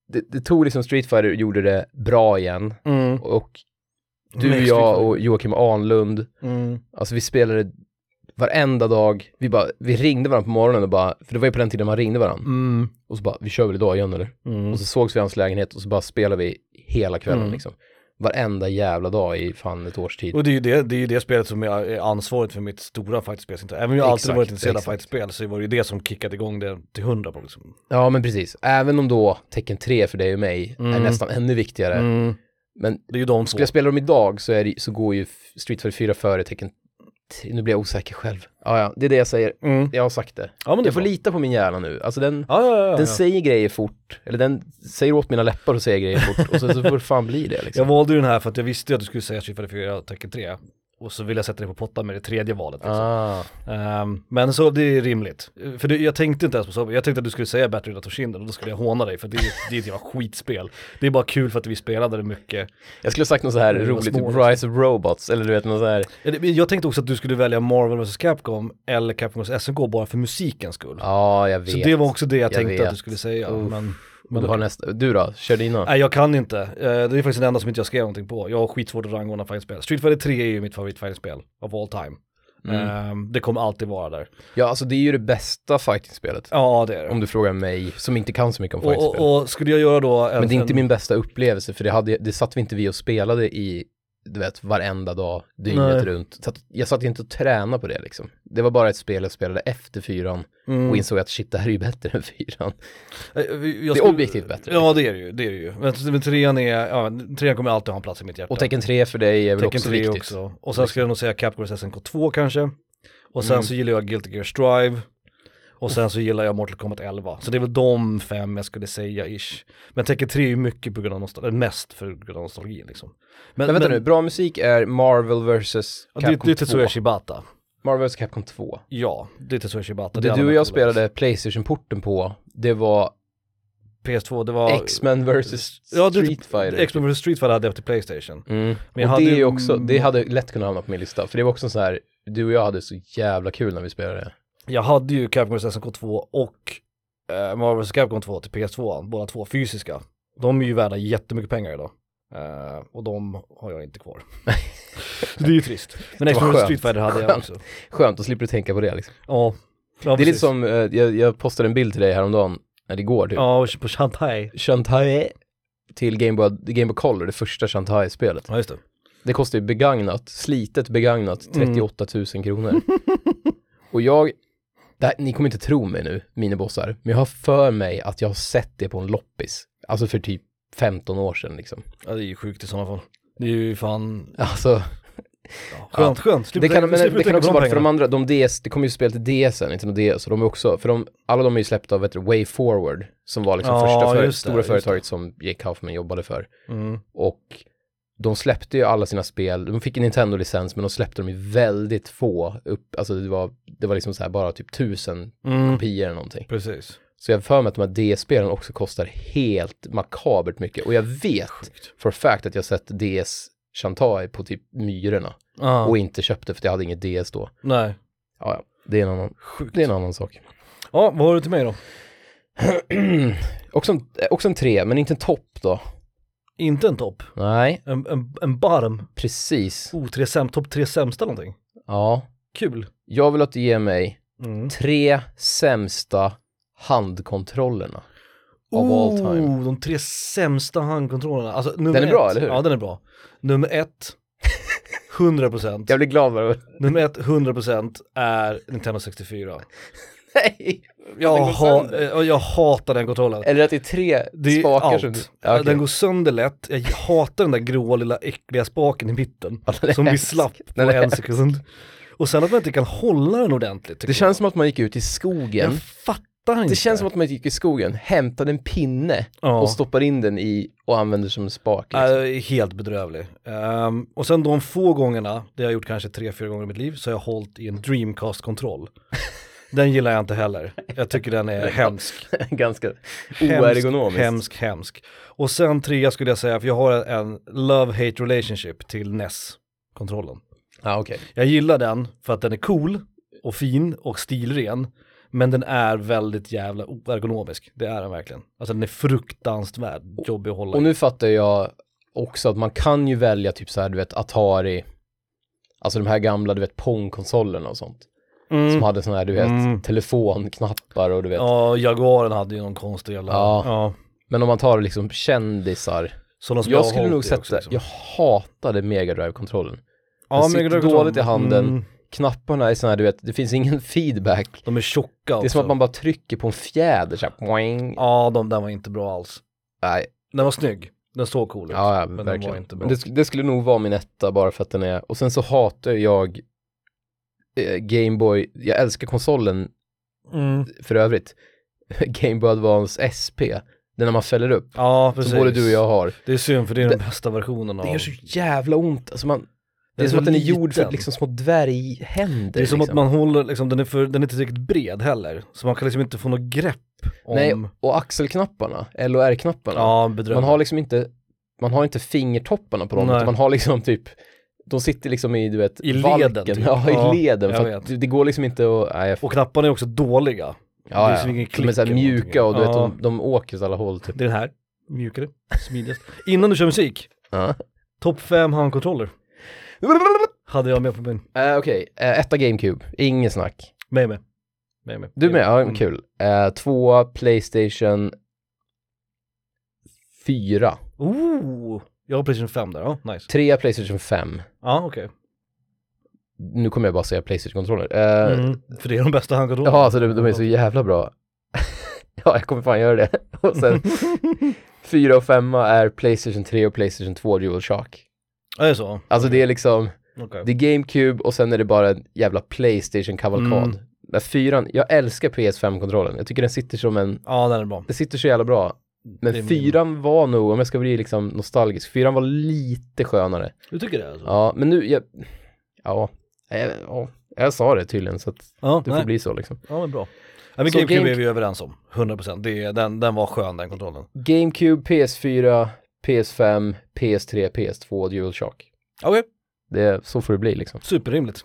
[SPEAKER 2] det, det tog liksom Street Fighter och gjorde det bra igen.
[SPEAKER 1] Mm.
[SPEAKER 2] Och du,
[SPEAKER 1] Next
[SPEAKER 2] jag
[SPEAKER 1] Street
[SPEAKER 2] och Joakim Ahnlund,
[SPEAKER 1] Mm.
[SPEAKER 2] alltså vi spelade varenda dag, vi, bara, vi ringde varandra på morgonen och bara, för det var ju på den tiden man ringde varandra,
[SPEAKER 1] Mm.
[SPEAKER 2] och så bara, vi kör väl idag igen eller?
[SPEAKER 1] Mm.
[SPEAKER 2] Och så sågs vi i hans lägenhet och så bara spelade vi hela kvällen
[SPEAKER 1] Mm.
[SPEAKER 2] liksom. Varenda jävla dag i fan ett års tid.
[SPEAKER 1] Och det är ju det, det, är ju det spelet som jag är ansvarigt för mitt stora fightspelsintresse. Även om jag alltid
[SPEAKER 2] Exakt,
[SPEAKER 1] varit intresserad av
[SPEAKER 2] exakt.
[SPEAKER 1] fightspel så var det ju det som kickade igång det till hundra på liksom.
[SPEAKER 2] Ja men precis, även om då tecken 3 för dig och mig är
[SPEAKER 1] Mm.
[SPEAKER 2] nästan ännu viktigare.
[SPEAKER 1] Mm.
[SPEAKER 2] Men
[SPEAKER 1] Det är ju de två.
[SPEAKER 2] Eh, skulle jag spela dem idag så, är det, så går ju f- Street Fighter 4 före tecken 3. Nu blir jag osäker själv. Ja, ja, det är det jag säger.
[SPEAKER 1] Mm.
[SPEAKER 2] Jag har sagt det.
[SPEAKER 1] Ja men det
[SPEAKER 2] Jag
[SPEAKER 1] är
[SPEAKER 2] får
[SPEAKER 1] bra.
[SPEAKER 2] lita på min hjärna nu. Alltså den,
[SPEAKER 1] Ja, ja, ja, ja.
[SPEAKER 2] den säger grejer fort. Eller den säger åt mina läppar och säger grejer fort. Och sen så får det fan bli det
[SPEAKER 1] Jag
[SPEAKER 2] liksom.
[SPEAKER 1] valde ju den här för att jag visste ju att du skulle säga Street Fighter 4 och Tekken 3. Och så ville jag sätta dig på pottan med det tredje valet. Liksom.
[SPEAKER 2] Ah,
[SPEAKER 1] Ehm, men så det är rimligt. För det, jag tänkte inte ens på så, jag tänkte att du skulle säga Battery Datoshinden och då skulle jag håna dig för det, är- det är ett jävla skitspel. Det är bara kul för att vi spelade det mycket.
[SPEAKER 2] jag skulle ha sagt något så här
[SPEAKER 1] Det var
[SPEAKER 2] roligt, typ
[SPEAKER 1] små, liksom.
[SPEAKER 2] Rise of Robots. Eller du vet något så här.
[SPEAKER 1] Eller, men Jag tänkte också att du skulle välja Marvel vs Capcom eller Capcom vs SNK bara för musikens skull.
[SPEAKER 2] Ja, jag vet.
[SPEAKER 1] så det var också det jag,
[SPEAKER 2] Jag
[SPEAKER 1] tänkte
[SPEAKER 2] vet.
[SPEAKER 1] att du skulle säga.
[SPEAKER 2] Uff.
[SPEAKER 1] Men,
[SPEAKER 2] Men
[SPEAKER 1] men
[SPEAKER 2] du, har nästa, du då? Kör dina.
[SPEAKER 1] Nej jag kan inte, Eh, det är faktiskt det enda som inte jag skrev någonting på. Jag har skitsvårt att rangordna fightingspel. Street Fighter 3 är ju mitt favoritfightingspel of all time.
[SPEAKER 2] Mm.
[SPEAKER 1] Ehm, det kommer alltid vara där.
[SPEAKER 2] Ja, alltså det är ju det bästa fightingspelet.
[SPEAKER 1] Ja det är det.
[SPEAKER 2] Om du frågar mig, som inte kan så mycket om
[SPEAKER 1] Och,
[SPEAKER 2] fightingspel.
[SPEAKER 1] och, och skulle jag göra då en,
[SPEAKER 2] Men det är inte
[SPEAKER 1] en-
[SPEAKER 2] min bästa upplevelse, för det, hade, det satt vi inte vi och spelade i, du vet, varenda dag, dygnet
[SPEAKER 1] Nej.
[SPEAKER 2] runt. Så att, jag satt ju inte och tränade på det liksom. Det var bara ett spel jag spelade efter fyran
[SPEAKER 1] Mm.
[SPEAKER 2] och insåg att shit, det här är ju bättre än fyran.
[SPEAKER 1] Eh, Jag
[SPEAKER 2] Det är
[SPEAKER 1] skulle-
[SPEAKER 2] objektivt bättre.
[SPEAKER 1] Ja det är det ju, det är det ju. Men, men trean är, ja, trean kommer alltid ha en plats i mitt hjärta.
[SPEAKER 2] Och tecken 3 för dig är väl
[SPEAKER 1] Tekken
[SPEAKER 2] också
[SPEAKER 1] 3
[SPEAKER 2] viktigt.
[SPEAKER 1] också. Och sen skulle jag nog säga Capcom SNK 2 kanske. Och
[SPEAKER 2] Mm.
[SPEAKER 1] sen så gillar jag Guilty Gear Strive. Och sen så gillar jag Mortal Kombat 11. Så det är väl de fem jag skulle säga ish. Men Tekken 3 är ju mycket på grund av nostalgi, mest för grund av nostalgi liksom.
[SPEAKER 2] Men vänta nu, bra musik är Marvel vs.
[SPEAKER 1] ja,
[SPEAKER 2] Capcom
[SPEAKER 1] det, det är
[SPEAKER 2] 2.
[SPEAKER 1] Tetsuya Shibata.
[SPEAKER 2] Marvel vs. Capcom 2.
[SPEAKER 1] Ja, det är Tetsuya Shibata. är
[SPEAKER 2] Det du
[SPEAKER 1] alla
[SPEAKER 2] och
[SPEAKER 1] mina
[SPEAKER 2] jag
[SPEAKER 1] polare.
[SPEAKER 2] spelade Playstation-porten på, det var
[SPEAKER 1] PS2, det var...
[SPEAKER 2] X-Men vs.
[SPEAKER 1] Ja, det-
[SPEAKER 2] Street Fighter.
[SPEAKER 1] X-Men vs Street Fighter hade jag till Playstation.
[SPEAKER 2] Mm.
[SPEAKER 1] Men jag
[SPEAKER 2] och
[SPEAKER 1] hade
[SPEAKER 2] det, är
[SPEAKER 1] ju-
[SPEAKER 2] också, det hade lätt kunnat hamna på min lista, för det var också så här, du och jag hade så jävla kul när vi spelade.
[SPEAKER 1] Jag hade ju Capcom vs SNK 2 och eh, Marvel vs Capcom 2 till PS2, båda två fysiska. De är ju värda jättemycket pengar idag. Eh, och de har jag inte kvar. Så det är ju trist. Men
[SPEAKER 2] Det var
[SPEAKER 1] X-Men
[SPEAKER 2] skönt.
[SPEAKER 1] Street Fighter hade jag
[SPEAKER 2] Skönt.
[SPEAKER 1] också.
[SPEAKER 2] Skönt, då slipper du tänka på det liksom.
[SPEAKER 1] Ja. ja
[SPEAKER 2] det är lite
[SPEAKER 1] precis.
[SPEAKER 2] som, eh, jag, jag postade en bild till dig häromdagen, eller igår typ.
[SPEAKER 1] Ja, och på Shantai.
[SPEAKER 2] Shantae till Game Boy, Game Boy Color, det första Shantae-spelet.
[SPEAKER 1] Ja, just det.
[SPEAKER 2] Det kostar ju begagnat, slitet begagnat, 38 000 kronor. och jag, det här, ni kommer inte tro mig nu, minibossar, men jag har för mig att jag har sett det på en loppis. Alltså för typ 15 år sedan liksom.
[SPEAKER 1] Ja, det är ju sjukt i sådana fall. Det är ju fan,
[SPEAKER 2] Alltså,
[SPEAKER 1] ja, skönt, skönt. Slipper
[SPEAKER 2] Det kan,
[SPEAKER 1] tänka-
[SPEAKER 2] men
[SPEAKER 1] Typ slipper
[SPEAKER 2] det
[SPEAKER 1] tänka
[SPEAKER 2] kan
[SPEAKER 1] på
[SPEAKER 2] också
[SPEAKER 1] de
[SPEAKER 2] vara för de
[SPEAKER 1] pengarna.
[SPEAKER 2] andra, de DS, det kommer ju spel till DS, Nintendo DS, och de är också, för de, alla de är ju släppta av ett Way Forward, som var liksom
[SPEAKER 1] Ja,
[SPEAKER 2] första för,
[SPEAKER 1] just det,
[SPEAKER 2] stora
[SPEAKER 1] just
[SPEAKER 2] företaget som Jake Kaufman jobbade för.
[SPEAKER 1] Mm.
[SPEAKER 2] Och de släppte ju alla sina spel, de fick en Nintendo-licens, men de släppte dem ju väldigt få, upp, alltså det var, det var liksom så här bara typ tusen
[SPEAKER 1] Mm.
[SPEAKER 2] kopior eller någonting.
[SPEAKER 1] Precis.
[SPEAKER 2] Så jag har för mig att de här DS-spelen också kostar helt makabert mycket, och jag vet for fact att jag sett DS Shantae på typ Myrorna
[SPEAKER 1] Ah,
[SPEAKER 2] och inte köpte för att jag hade inget DS då.
[SPEAKER 1] nej.
[SPEAKER 2] Ja, ja. Det är en annan,
[SPEAKER 1] Sjukt.
[SPEAKER 2] det är en annan sak.
[SPEAKER 1] Ja, vad har du till mig då?
[SPEAKER 2] också, en, också en tre, men inte en topp då.
[SPEAKER 1] Inte en topp,
[SPEAKER 2] Nej,
[SPEAKER 1] en, en, en barm.
[SPEAKER 2] precis.
[SPEAKER 1] Oh, tre säm, topp tre sämsta någonting.
[SPEAKER 2] Ja.
[SPEAKER 1] Kul.
[SPEAKER 2] Jag vill att du ger mig
[SPEAKER 1] Mm.
[SPEAKER 2] tre sämsta handkontrollerna. Of all time.
[SPEAKER 1] de tre sämsta handkontrollerna. Alltså, nummer
[SPEAKER 2] Den är
[SPEAKER 1] ett,
[SPEAKER 2] bra, eller hur?
[SPEAKER 1] Ja, den är bra. Nummer ett, 100%.
[SPEAKER 2] blir glad bara
[SPEAKER 1] Nummer ett, 100% är Nintendo 64.
[SPEAKER 2] Nej!
[SPEAKER 1] Jag,
[SPEAKER 2] går
[SPEAKER 1] ha,
[SPEAKER 2] sönder.
[SPEAKER 1] eh, och jag hatar den kontrollen.
[SPEAKER 2] Eller att det är tre
[SPEAKER 1] Det är
[SPEAKER 2] spakar
[SPEAKER 1] allt. Eh,
[SPEAKER 2] som... Ja, okej.
[SPEAKER 1] Den går sönder lätt. Jag hatar den där gråa lilla äckliga spaken i mitten.
[SPEAKER 2] Ja, den är
[SPEAKER 1] Som blir
[SPEAKER 2] hemsk.
[SPEAKER 1] slapp på
[SPEAKER 2] Den är
[SPEAKER 1] en
[SPEAKER 2] hemsk.
[SPEAKER 1] sekund. Och sen att man inte kan hålla den ordentligt. tycker
[SPEAKER 2] Det känns som att man gick ut i skogen.
[SPEAKER 1] jag. jag fattar inte.
[SPEAKER 2] Det känns som att man gick i skogen, hämtade en pinne
[SPEAKER 1] Ja.
[SPEAKER 2] och stoppar in den i och använder som en spak. Liksom.
[SPEAKER 1] Äh, helt bedrövlig. Ehm, och sen de få gångerna, det har jag gjort kanske tre, fyra gånger i mitt liv, så har jag hållit i en Dreamcast-kontroll. Den gillar jag inte heller. Jag tycker den är hemsk.
[SPEAKER 2] Ganska
[SPEAKER 1] Hemsk,
[SPEAKER 2] oergonomiskt.
[SPEAKER 1] hemsk, hemsk. Och sen trea skulle jag säga, för jag har en love-hate relationship till NES-kontrollen.
[SPEAKER 2] Ja, okej.
[SPEAKER 1] Jag gillar den för att den är cool och fin och stilren. Men den är väldigt jävla oergonomisk. Det är den verkligen. Alltså den är fruktansvärt jobbig att hålla
[SPEAKER 2] Och
[SPEAKER 1] i.
[SPEAKER 2] nu fattar jag också att man kan ju välja typ så här, du vet, Atari, alltså de här gamla, du vet, Pong-konsolerna och sånt.
[SPEAKER 1] Mm.
[SPEAKER 2] Som hade såna här, du vet,
[SPEAKER 1] Mm.
[SPEAKER 2] telefonknappar och du vet.
[SPEAKER 1] Ja, Jaguaren hade ju någon konstig jävla...
[SPEAKER 2] Ja.
[SPEAKER 1] ja.
[SPEAKER 2] Men om man tar liksom kändisar.
[SPEAKER 1] Sådana som
[SPEAKER 2] Jag
[SPEAKER 1] har
[SPEAKER 2] skulle
[SPEAKER 1] hållit
[SPEAKER 2] nog
[SPEAKER 1] i
[SPEAKER 2] sätta,
[SPEAKER 1] också, liksom.
[SPEAKER 2] jag hatade Mega Drive-kontrollen.
[SPEAKER 1] Ja,
[SPEAKER 2] den
[SPEAKER 1] men
[SPEAKER 2] sitter
[SPEAKER 1] jag tror-
[SPEAKER 2] dåligt i handen.
[SPEAKER 1] Mm,
[SPEAKER 2] Knapparna är såna här, du vet, det finns ingen feedback.
[SPEAKER 1] de är tjocka också.
[SPEAKER 2] Det är som att man bara trycker på en fjäder så här, poäng.
[SPEAKER 1] Alltså. Ja, de, den var inte bra alls.
[SPEAKER 2] Nej,
[SPEAKER 1] Den var snygg. Den såg cool ut.
[SPEAKER 2] ja, ja
[SPEAKER 1] men den var
[SPEAKER 2] verkligen.
[SPEAKER 1] inte bra.
[SPEAKER 2] Men det, sk- det skulle nog vara min etta bara för att den är, och sen så hatar jag eh, Gameboy, jag älskar konsolen
[SPEAKER 1] Mm.
[SPEAKER 2] för övrigt. Gameboy Advance SP, den när man fäller upp,
[SPEAKER 1] Ja, precis.
[SPEAKER 2] som både du och jag har.
[SPEAKER 1] Det är synd för det är den
[SPEAKER 2] Det-
[SPEAKER 1] bästa versionen av...
[SPEAKER 2] Det gör så jävla ont, alltså man, det är,
[SPEAKER 1] så
[SPEAKER 2] som att den är gjord för
[SPEAKER 1] liten.
[SPEAKER 2] liksom små dvärghänder.
[SPEAKER 1] Det är som
[SPEAKER 2] liksom.
[SPEAKER 1] att man håller, liksom, den, är för, den är inte tillräckligt bred heller. Så man kan liksom inte få något grepp om...
[SPEAKER 2] Nej, och axelknapparna, L och R-knapparna.
[SPEAKER 1] ja, bedrövligt.
[SPEAKER 2] Man har liksom inte, man har inte fingertopparna på dem,
[SPEAKER 1] Nej.
[SPEAKER 2] utan man har liksom typ, de sitter liksom i, du vet,
[SPEAKER 1] I leden,
[SPEAKER 2] valken.
[SPEAKER 1] typ.
[SPEAKER 2] Ja, i
[SPEAKER 1] Ja,
[SPEAKER 2] leden.
[SPEAKER 1] jag
[SPEAKER 2] För att det- det går liksom inte att, nej, jag,
[SPEAKER 1] Och knapparna är också dåliga.
[SPEAKER 2] ja,
[SPEAKER 1] det är
[SPEAKER 2] ja.
[SPEAKER 1] som ingen
[SPEAKER 2] De är så här
[SPEAKER 1] klick eller
[SPEAKER 2] mjuka och du vet,
[SPEAKER 1] någonting.
[SPEAKER 2] de, de åker åt alla håll typ.
[SPEAKER 1] Det är den här, mjukare, smidigast. Innan du kör musik,
[SPEAKER 2] Ja.
[SPEAKER 1] topp 5 handkontroller hade jag med på min.
[SPEAKER 2] Eh, Okej, eh, etta GameCube, inget snack.
[SPEAKER 1] Mig med. Mig med.
[SPEAKER 2] Du med, ja
[SPEAKER 1] Mm.
[SPEAKER 2] kul. Eh, tvåa, Playstation 4.
[SPEAKER 1] Ooh, jag har Playstation 5 där, ja, nice.
[SPEAKER 2] Trea, Playstation 5.
[SPEAKER 1] Ja, okej.
[SPEAKER 2] Nu kommer jag bara säga Playstation-kontroller. Eh,
[SPEAKER 1] Mm. För det är de bästa handkontrollerna.
[SPEAKER 2] Jaha, alltså de, de är så jävla bra. ja, jag kommer fan göra det. och sen, fyra och femma är Playstation 3 och Playstation 2 DualShock.
[SPEAKER 1] Ja, det är så.
[SPEAKER 2] Alltså det är liksom,
[SPEAKER 1] Okej.
[SPEAKER 2] det är GameCube och sen är det bara en jävla Playstation-kavalkad.
[SPEAKER 1] Mm.
[SPEAKER 2] Men fyran, jag älskar PS5-kontrollen. Jag tycker den sitter som en,
[SPEAKER 1] Ja, den är bra.
[SPEAKER 2] den sitter så jävla bra. Men
[SPEAKER 1] Det är min-
[SPEAKER 2] fyran var nog, om jag ska bli liksom nostalgisk, fyran var lite skönare.
[SPEAKER 1] Du tycker det alltså?
[SPEAKER 2] Ja, men nu, jag, ja, jag, ja, jag sa det tydligen så att
[SPEAKER 1] Ja,
[SPEAKER 2] det
[SPEAKER 1] nej.
[SPEAKER 2] får bli så liksom.
[SPEAKER 1] Ja, men bra. Ja, men
[SPEAKER 2] Så
[SPEAKER 1] GameCube
[SPEAKER 2] Game-
[SPEAKER 1] är vi överens om, 100%. Det är, den, den var skön den kontrollen.
[SPEAKER 2] GameCube, PS4, PS5, PS3, PS2, DualShock.
[SPEAKER 1] Okej,
[SPEAKER 2] Det, så får det bli liksom.
[SPEAKER 1] superrimligt.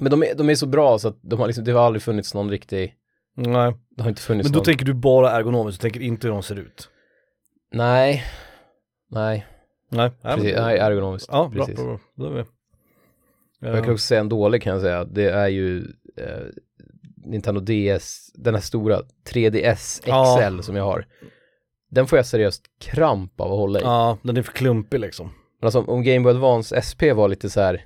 [SPEAKER 2] Men de är, de är så bra så att de har liksom, det har aldrig funnits någon riktig,
[SPEAKER 1] Nej,
[SPEAKER 2] det har inte funnits
[SPEAKER 1] men då
[SPEAKER 2] någon.
[SPEAKER 1] tänker du bara ergonomiskt, du tänker inte hur de ser ut.
[SPEAKER 2] Nej, nej,
[SPEAKER 1] Nej, nej,
[SPEAKER 2] precis,
[SPEAKER 1] men-
[SPEAKER 2] nej ergonomiskt.
[SPEAKER 1] Ja, bra,
[SPEAKER 2] precis.
[SPEAKER 1] bra, bra. Då är vi.
[SPEAKER 2] Men Jag kan också säga en dålig kan jag säga, det är ju eh, Nintendo DS, den här stora 3DS XL
[SPEAKER 1] Ja.
[SPEAKER 2] som jag har. Den får jag seriöst kramp av att hålla i.
[SPEAKER 1] Ja, den är för klumpig liksom.
[SPEAKER 2] Men alltså om Game Boy Advance SP var lite så här,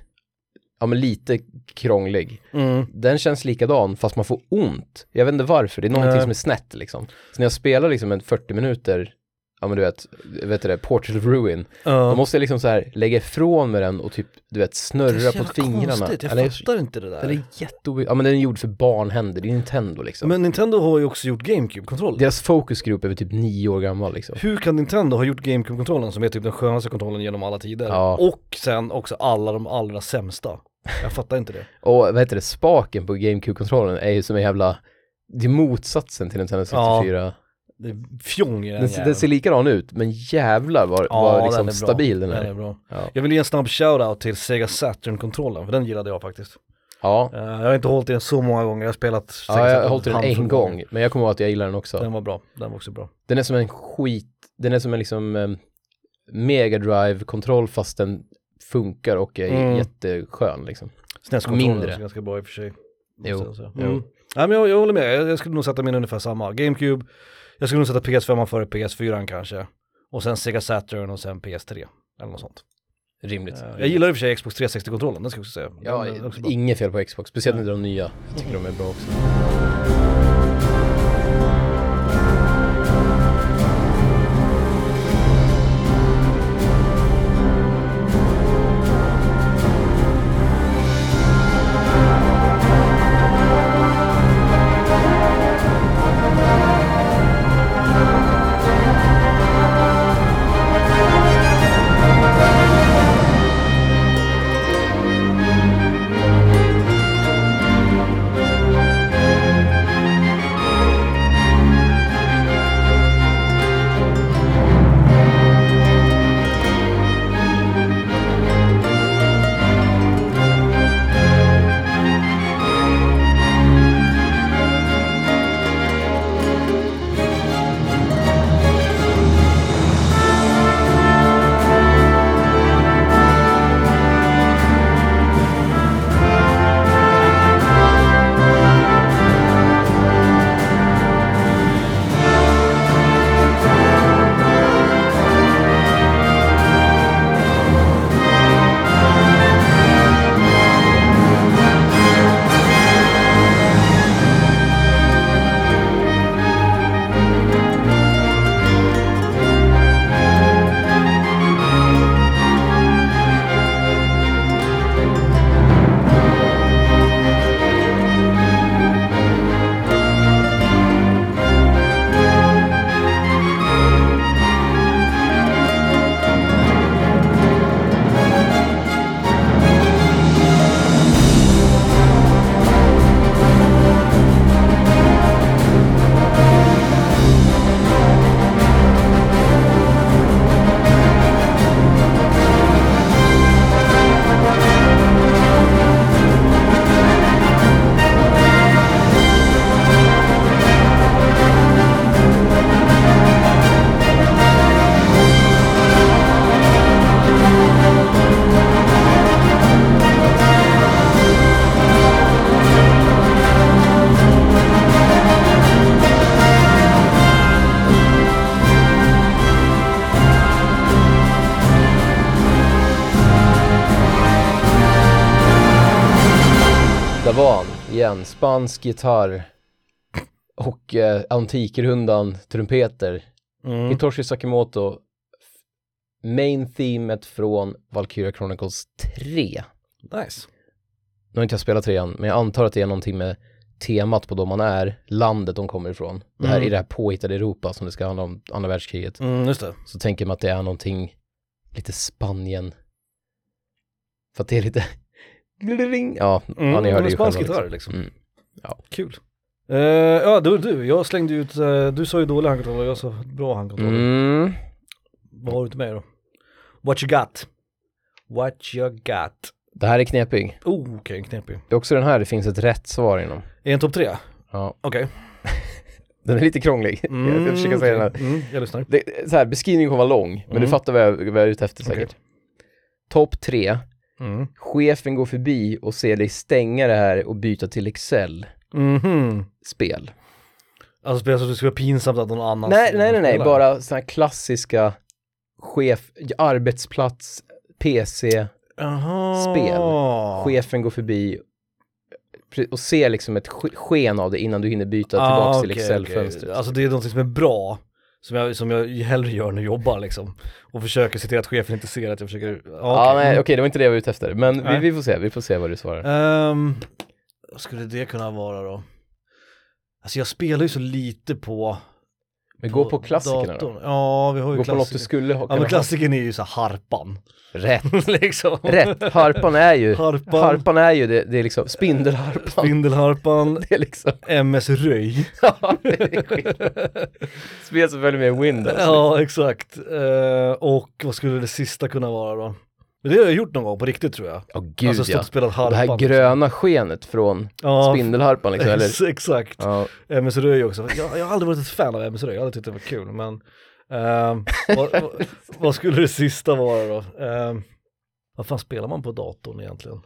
[SPEAKER 2] ja men lite krånglig.
[SPEAKER 1] Mm.
[SPEAKER 2] den känns likadan fast man får ont. Jag vet inte varför, det är någonting
[SPEAKER 1] Nej.
[SPEAKER 2] som är snett liksom. Så när jag spelar liksom en 40 minuter, ja men du vet, vet du det, Portal of Ruin, då
[SPEAKER 1] Ja.
[SPEAKER 2] måste jag liksom så här lägga ifrån mig den och typ, du vet,
[SPEAKER 1] Det är
[SPEAKER 2] snurra
[SPEAKER 1] så
[SPEAKER 2] på
[SPEAKER 1] jävla
[SPEAKER 2] fingrarna.
[SPEAKER 1] Konstigt.
[SPEAKER 2] Eller-
[SPEAKER 1] Jag fattar inte det där.
[SPEAKER 2] den är jätteobe... Ja men den är gjord för barnhänder, det är Nintendo liksom.
[SPEAKER 1] Men Nintendo har ju också gjort GameCube-kontrollen.
[SPEAKER 2] Deras fokusgrupp är väl typ nio år gammal liksom.
[SPEAKER 1] Hur kan Nintendo ha gjort GameCube-kontrollen som är typ den skönaste kontrollen genom alla tider?
[SPEAKER 2] Ja.
[SPEAKER 1] Och sen också alla de allra sämsta. Jag fattar inte det.
[SPEAKER 2] Och vad heter det, spaken på GameCube-kontrollen är ju som en jävla, det är motsatsen till Nintendo 64.
[SPEAKER 1] Det är fjong i den
[SPEAKER 2] Den, ser- den ser likadan ut, men jävlar vad,
[SPEAKER 1] Ja,
[SPEAKER 2] vad
[SPEAKER 1] den
[SPEAKER 2] liksom
[SPEAKER 1] är bra.
[SPEAKER 2] stabil den är.
[SPEAKER 1] Den är bra.
[SPEAKER 2] Ja.
[SPEAKER 1] Jag vill ge en snabb shout-out till Sega Saturn-kontrollen, för den gillade jag faktiskt.
[SPEAKER 2] ja,
[SPEAKER 1] Eh, jag har inte hållit i den så många gånger, jag har spelat Sega
[SPEAKER 2] Ja, jag har
[SPEAKER 1] Saturn
[SPEAKER 2] hållit i den
[SPEAKER 1] handfull
[SPEAKER 2] en
[SPEAKER 1] gånger.
[SPEAKER 2] gång, men jag kommer ihåg att jag gillar den också.
[SPEAKER 1] Den var bra, den var också bra.
[SPEAKER 2] Den är som en skit, den är som en liksom eh, Mega Drive-kontroll fast den funkar och är
[SPEAKER 1] Mm.
[SPEAKER 2] jätteskön liksom.
[SPEAKER 1] SNES-kontrollen
[SPEAKER 2] Mindre.
[SPEAKER 1] är ganska bra i och för sig.
[SPEAKER 2] Jo,
[SPEAKER 1] Så- så.
[SPEAKER 2] jo.
[SPEAKER 1] Mm. Nej, men jag, jag håller med, jag, jag skulle nog sätta min ungefär samma. GameCube, jag skulle nog sätta PS5 före PS4 kanske. Och sen Sega Saturn och sen PS3. Eller något sånt.
[SPEAKER 2] Rimligt.
[SPEAKER 1] Eh, Jag gillar i och för sig Xbox 360-kontrollen, den ska jag också säga.
[SPEAKER 2] Ja,
[SPEAKER 1] den är också bra.
[SPEAKER 2] inget fel på Xbox, speciellt inte de nya. Jag tycker de är bra också. igen, spansk gitarr och eh, Antikrundan trumpeter.
[SPEAKER 1] Mm.
[SPEAKER 2] Hitoshi Sakimoto, f- main themet från Valkyria Chronicles 3.
[SPEAKER 1] Nice.
[SPEAKER 2] Nu har inte jag spelat 3 än, men jag antar att det är någonting med temat på då man är, landet de kommer ifrån. Det här
[SPEAKER 1] Mm.
[SPEAKER 2] är det här påhittade Europa som det ska handla om, andra världskriget.
[SPEAKER 1] Mm, just det.
[SPEAKER 2] Så tänker man att det är någonting lite Spanien. För att det är lite... Ja, ja ni hörde
[SPEAKER 1] Mm, men
[SPEAKER 2] ju
[SPEAKER 1] spansk
[SPEAKER 2] själva
[SPEAKER 1] gitarr liksom.
[SPEAKER 2] Mm.
[SPEAKER 1] Kul. Eh, ja, du, du, jag slängde ut, eh, du sa ju dålig handkontroll och jag sa bra handkontroll.
[SPEAKER 2] Mm.
[SPEAKER 1] Vad har du till mig då? What you got? What you got?
[SPEAKER 2] Det här är knepig.
[SPEAKER 1] Oh, okej, okay, knepig.
[SPEAKER 2] Det är också den här det finns ett rätt svar inom.
[SPEAKER 1] Är en topp tre?
[SPEAKER 2] Ja.
[SPEAKER 1] Okej.
[SPEAKER 2] Den är lite krånglig. jag ska försöka säga den här.
[SPEAKER 1] okej. Mm, jag lyssnar.
[SPEAKER 2] Det, så här, beskrivningen kommer vara lång, men du
[SPEAKER 1] Mm.
[SPEAKER 2] fattar vad jag, vad jag är ute efter
[SPEAKER 1] Okej.
[SPEAKER 2] säkert. Topp tre.
[SPEAKER 1] Mm.
[SPEAKER 2] Chefen går förbi och ser dig stänga det här och byta till Excel-spel.
[SPEAKER 1] Mhm. Alltså spelar så att det skulle vara pinsamt att någon annan
[SPEAKER 2] Nej, nej, nej, nej,
[SPEAKER 1] spelar.
[SPEAKER 2] bara sådana här klassiska chef, arbetsplats, PC,
[SPEAKER 1] Aha.
[SPEAKER 2] spel. chefen går förbi och ser liksom ett ske- sken av det innan du hinner byta
[SPEAKER 1] Ah,
[SPEAKER 2] tillbaka till
[SPEAKER 1] okej,
[SPEAKER 2] Excel-fönstret.
[SPEAKER 1] okej. Alltså det är någonting som är bra, som jag, som jag hellre gör när jag jobbar liksom. Och försöker se till att chefen inte ser att jag försöker, ja,
[SPEAKER 2] Ja,
[SPEAKER 1] okej. Mm.
[SPEAKER 2] nej, okej, det var inte det jag var ute efter, men vi,
[SPEAKER 1] Nej.
[SPEAKER 2] vi får se, vi får se vad du svarar.
[SPEAKER 1] Ehm, vad skulle det kunna vara då? Alltså jag spelar ju så lite på
[SPEAKER 2] Men gå på klassikerna då.
[SPEAKER 1] datorn. Ja, vi har ju
[SPEAKER 2] Gå på något du
[SPEAKER 1] klassiker.
[SPEAKER 2] skulle
[SPEAKER 1] Ja
[SPEAKER 2] ha
[SPEAKER 1] men
[SPEAKER 2] kunnat ha.
[SPEAKER 1] klassikern är ju så här harpan.
[SPEAKER 2] Rätt,
[SPEAKER 1] liksom.
[SPEAKER 2] rätt. Harpan är ju,
[SPEAKER 1] Harpan,
[SPEAKER 2] harpan är ju, det, det är liksom spindelharpan.
[SPEAKER 1] spindelharpan,
[SPEAKER 2] Det är liksom,
[SPEAKER 1] MS Röj.
[SPEAKER 2] ja, det är skit. Spel som följer med Windows.
[SPEAKER 1] Ja, exakt. Eh, och vad skulle det sista kunna vara då? Men det har jag gjort någon gång på riktigt tror jag.
[SPEAKER 2] Ja, gud
[SPEAKER 1] alltså stått
[SPEAKER 2] ja.
[SPEAKER 1] och spelat
[SPEAKER 2] Och
[SPEAKER 1] harpan.
[SPEAKER 2] Det här gröna skenet från
[SPEAKER 1] ja,
[SPEAKER 2] spindelharpan liksom, eller?
[SPEAKER 1] Exakt.
[SPEAKER 2] Ja.
[SPEAKER 1] MS Röj också. Jag, jag har aldrig varit ett fan av MS Röj, jag har aldrig tyckt det var kul. Men ehm, vad, vad, vad skulle det sista vara då? Ehm, vad fan spelar man på datorn egentligen?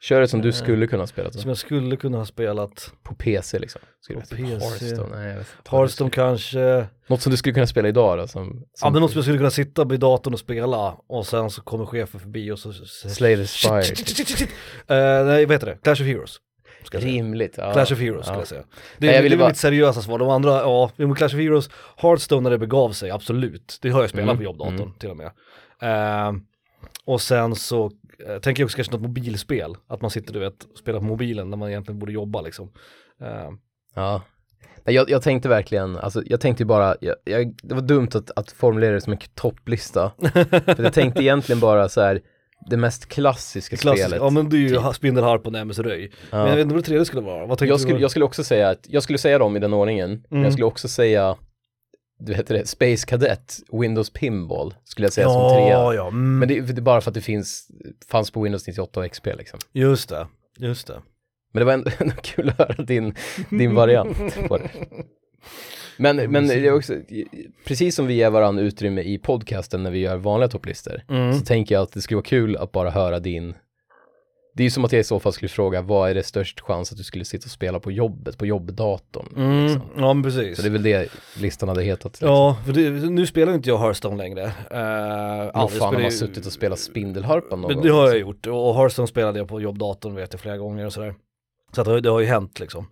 [SPEAKER 2] Kör det som du
[SPEAKER 1] Eh,
[SPEAKER 2] skulle kunna spela.
[SPEAKER 1] Som jag skulle kunna ha spelat.
[SPEAKER 2] På PC liksom. Skulle
[SPEAKER 1] På
[SPEAKER 2] det vara typ
[SPEAKER 1] PC.
[SPEAKER 2] Hearthstone? Nej, jag vet inte.
[SPEAKER 1] Hearthstone kanske.
[SPEAKER 2] Något som du skulle kunna spela idag då? Som, som
[SPEAKER 1] Ja men något som jag skulle kunna sitta vid datorn och spela och sen så kommer chefen förbi och så...
[SPEAKER 2] Slay the
[SPEAKER 1] Shit,
[SPEAKER 2] Spire. typ,
[SPEAKER 1] shit, shit, shit, shit. Eh, nej vad heter det? Clash of Heroes. Ska jag säga.
[SPEAKER 2] Rimligt. Ja.
[SPEAKER 1] Clash of Heroes
[SPEAKER 2] ja.
[SPEAKER 1] skulle jag säga. Det,
[SPEAKER 2] Nej, jag
[SPEAKER 1] det
[SPEAKER 2] ville
[SPEAKER 1] är
[SPEAKER 2] bara-
[SPEAKER 1] mitt seriösa svar, de andra, ja, jo, men Clash of Heroes, Hearthstone när det begav sig, absolut. Det har jag spelat
[SPEAKER 2] Mm,
[SPEAKER 1] på jobbdatorn
[SPEAKER 2] mm.
[SPEAKER 1] till och med. Ehm, och sen så eh, tänker jag också kanske något mobilspel, att man sitter du vet och spelar på mobilen när man egentligen borde jobba liksom. Ehm,
[SPEAKER 2] Ja. Nej, jag, jag tänkte verkligen, alltså, jag tänkte ju bara, jag, jag, det var dumt att, att formulera det som en topplista. För jag tänkte egentligen bara så här, det mest klassiska
[SPEAKER 1] klassiskt,
[SPEAKER 2] spelet.
[SPEAKER 1] ja men det är ju
[SPEAKER 2] typ.
[SPEAKER 1] ha- spindelharpan och MS Röj.
[SPEAKER 2] Ja.
[SPEAKER 1] Men jag vet inte vad det tredje skulle vara, vad tänkte
[SPEAKER 2] jag,
[SPEAKER 1] du?
[SPEAKER 2] skulle, jag skulle också säga att, jag skulle säga dem i den ordningen, men
[SPEAKER 1] Mm.
[SPEAKER 2] jag skulle också säga, du heter det, Space Cadet, Windows Pinball, skulle jag säga som trea.
[SPEAKER 1] ja, ja, mm,
[SPEAKER 2] Men det, det är bara för att det finns, fanns på Windows 98 och XP liksom.
[SPEAKER 1] just det, just det.
[SPEAKER 2] Men det var ändå, ändå kul att höra din, din variant på det. Men, men det är också, precis som vi ger varandra utrymme i podcasten när vi gör vanliga topplistor,
[SPEAKER 1] Mm.
[SPEAKER 2] så tänker jag att det skulle vara kul att bara höra din... Det är ju som att jag i så fall skulle fråga, vad är det störst chans att du skulle sitta och spela på jobbet, på jobbdatorn?
[SPEAKER 1] Mm, ja men precis.
[SPEAKER 2] Så det är väl det listan hade hetat. Liksom.
[SPEAKER 1] Ja, för det, nu spelar ju inte jag Hearthstone längre. Uh,
[SPEAKER 2] Vad fan har man suttit och spelat spindelharpan någon
[SPEAKER 1] alltså, Men det har
[SPEAKER 2] gång? liksom.
[SPEAKER 1] jag gjort, och Hearthstone spelade jag på jobbdatorn vet jag flera gånger och sådär. Så att det, har- det har ju hänt liksom.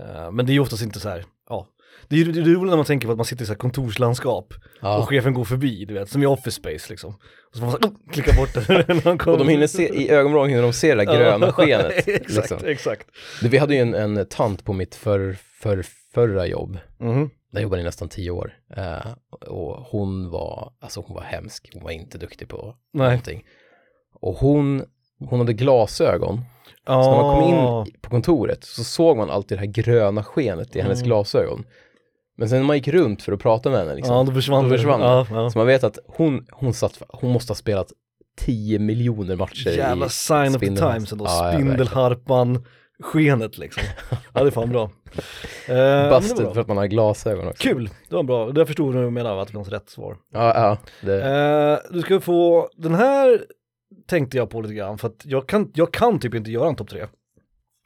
[SPEAKER 1] Eh, men det är ju oftast inte så här, ja. Det är ju det är roligt när man tänker på att man sitter i så här kontorslandskap
[SPEAKER 2] Ja.
[SPEAKER 1] och chefen går förbi, du vet, som i Office Space liksom. Och så får man så här, oh, klicka bort den. när han kommer.
[SPEAKER 2] Och de hinner se, i ögonvrån hinner de se det där gröna
[SPEAKER 1] Ja,
[SPEAKER 2] skenet.
[SPEAKER 1] exakt,
[SPEAKER 2] liksom.
[SPEAKER 1] exakt.
[SPEAKER 2] Du, Vi hade ju en, en tant på mitt för, för, förra jobb.
[SPEAKER 1] Mhm.
[SPEAKER 2] Där jobbade jag nästan tio år. Eh, och hon var, alltså hon var hemsk. Hon var inte duktig på
[SPEAKER 1] Nej.
[SPEAKER 2] någonting. Och hon, hon hade glasögon. Så när man kom
[SPEAKER 1] Ja.
[SPEAKER 2] in på kontoret så såg man alltid det här gröna skenet i hennes
[SPEAKER 1] Mm.
[SPEAKER 2] glasögon. Men sen när man gick runt för att prata med henne, liksom,
[SPEAKER 1] Ja, då försvann
[SPEAKER 2] då
[SPEAKER 1] det.
[SPEAKER 2] försvann
[SPEAKER 1] ja, ja.
[SPEAKER 2] så man vet att hon, hon, satt, hon måste ha spelat 10 miljoner matcher
[SPEAKER 1] Jävla
[SPEAKER 2] i
[SPEAKER 1] sign of the
[SPEAKER 2] spindelhar-
[SPEAKER 1] times ändå,
[SPEAKER 2] Ja, ja, verkligen.
[SPEAKER 1] spindelharpan, skenet liksom. Ja det är fan bra. Eh, men det
[SPEAKER 2] Busted
[SPEAKER 1] var
[SPEAKER 2] för
[SPEAKER 1] bra.
[SPEAKER 2] att man har glasögon också.
[SPEAKER 1] Kul, det var bra. Där förstod du vad jag menade att det fanns rätt svar.
[SPEAKER 2] Ja, ja. Det,
[SPEAKER 1] Eh, du ska få, den här tänkte jag på lite grann för att jag kan, jag kan typ inte göra en topp tre.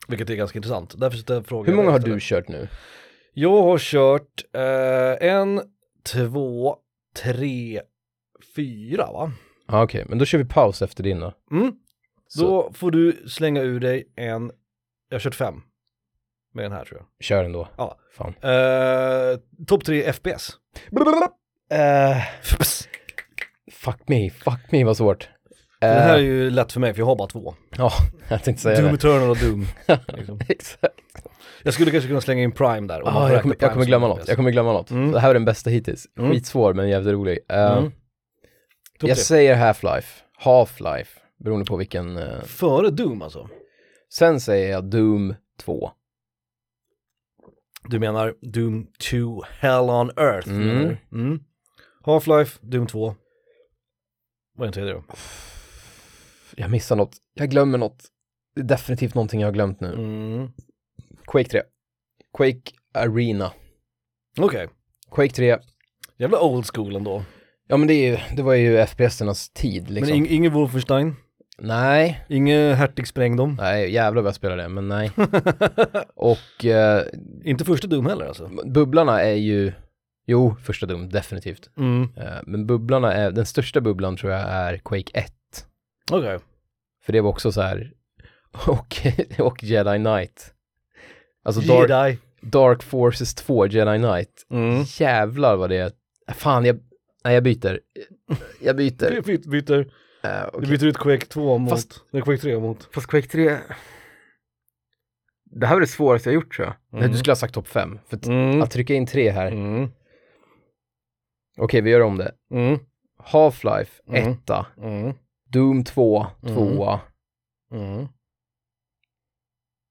[SPEAKER 1] Vilket är ganska intressant. Därför ställer jag frågan.
[SPEAKER 2] hur många har du
[SPEAKER 1] istället.
[SPEAKER 2] kört nu?
[SPEAKER 1] Jag har kört eh, en, två, tre, fyra va?
[SPEAKER 2] Ja, okej, men då kör vi paus efter din då.
[SPEAKER 1] Mm.
[SPEAKER 2] Så,
[SPEAKER 1] Då får du slänga ur dig en, jag har kört fem. med den här tror jag.
[SPEAKER 2] Kör ändå.
[SPEAKER 1] Ja.
[SPEAKER 2] Fan.
[SPEAKER 1] Uh, Topp tre FPS.
[SPEAKER 2] Eh, fuck me, fuck me vad svårt. Eh,
[SPEAKER 1] Den här är ju lätt för mig för jag har bara två.
[SPEAKER 2] Ja, jag tänkte säga
[SPEAKER 1] Doom
[SPEAKER 2] det.
[SPEAKER 1] Eternal och Doom. liksom.
[SPEAKER 2] Exakt.
[SPEAKER 1] Jag skulle kanske kunna slänga in Prime där. om man
[SPEAKER 2] Ah,
[SPEAKER 1] får
[SPEAKER 2] jag,
[SPEAKER 1] räkna
[SPEAKER 2] kommer,
[SPEAKER 1] Prime
[SPEAKER 2] jag kommer
[SPEAKER 1] som
[SPEAKER 2] glömma
[SPEAKER 1] FPS.
[SPEAKER 2] något, jag kommer glömma något.
[SPEAKER 1] Mm.
[SPEAKER 2] Det här är den bästa hittills.
[SPEAKER 1] Mm.
[SPEAKER 2] Skitsvår men jävligt rolig. Eh,
[SPEAKER 1] Mm. Topp
[SPEAKER 2] Jag
[SPEAKER 1] tre.
[SPEAKER 2] säger Half-Life, Half-Life, beroende på vilken. eh,
[SPEAKER 1] Före Doom alltså?
[SPEAKER 2] Sen säger jag Doom 2.
[SPEAKER 1] Du menar Doom 2 Hell on Earth?
[SPEAKER 2] Mm.
[SPEAKER 1] menar du? Mm. Half-Life, Doom 2. Vad är den tredje då?
[SPEAKER 2] Alltså. Jag missar något, jag glömmer något. Det är definitivt någonting jag har glömt nu.
[SPEAKER 1] Mm.
[SPEAKER 2] Quake 3. Quake Arena.
[SPEAKER 1] Okej,
[SPEAKER 2] Quake 3,
[SPEAKER 1] jävla old school ändå.
[SPEAKER 2] ja men det, är ju, det var ju FPS-ernas tid liksom.
[SPEAKER 1] Men ing- ingen Wolfenstein,
[SPEAKER 2] Nej,
[SPEAKER 1] ingen Hertig sprängdom.
[SPEAKER 2] nej jävlar vad jag spelar det, men nej. Och eh,
[SPEAKER 1] Inte första Doom heller alltså.
[SPEAKER 2] bubblarna är ju, jo första Doom definitivt.
[SPEAKER 1] Mm.
[SPEAKER 2] Eh, men bubblarna är, den största bubblan tror jag är Quake 1.
[SPEAKER 1] Okej,
[SPEAKER 2] För det var också så här, och, och Jedi Knight. Alltså Dark,
[SPEAKER 1] Jedi.
[SPEAKER 2] Dark Forces 2, Jedi Knight.
[SPEAKER 1] Mm.
[SPEAKER 2] Jävlar vad det är. Fan, jag, nej jag byter. Jag byter.
[SPEAKER 1] Vi byter, byter,
[SPEAKER 2] Eh,
[SPEAKER 1] vi
[SPEAKER 2] okej.
[SPEAKER 1] byter ut Quake 2 mot,
[SPEAKER 2] Fast-
[SPEAKER 1] nej Quake 3 mot.
[SPEAKER 2] Fast Quake 3, det här var det svåraste jag gjort tror jag. Nej,
[SPEAKER 1] Mm.
[SPEAKER 2] du skulle ha sagt topp 5. För att,
[SPEAKER 1] Mm.
[SPEAKER 2] att trycka in tre här.
[SPEAKER 1] Mm.
[SPEAKER 2] Okej, vi gör om det.
[SPEAKER 1] Mm.
[SPEAKER 2] Half-Life,
[SPEAKER 1] Mm.
[SPEAKER 2] etta.
[SPEAKER 1] Mm.
[SPEAKER 2] Doom 2,
[SPEAKER 1] Mm.
[SPEAKER 2] tvåa.
[SPEAKER 1] Mm.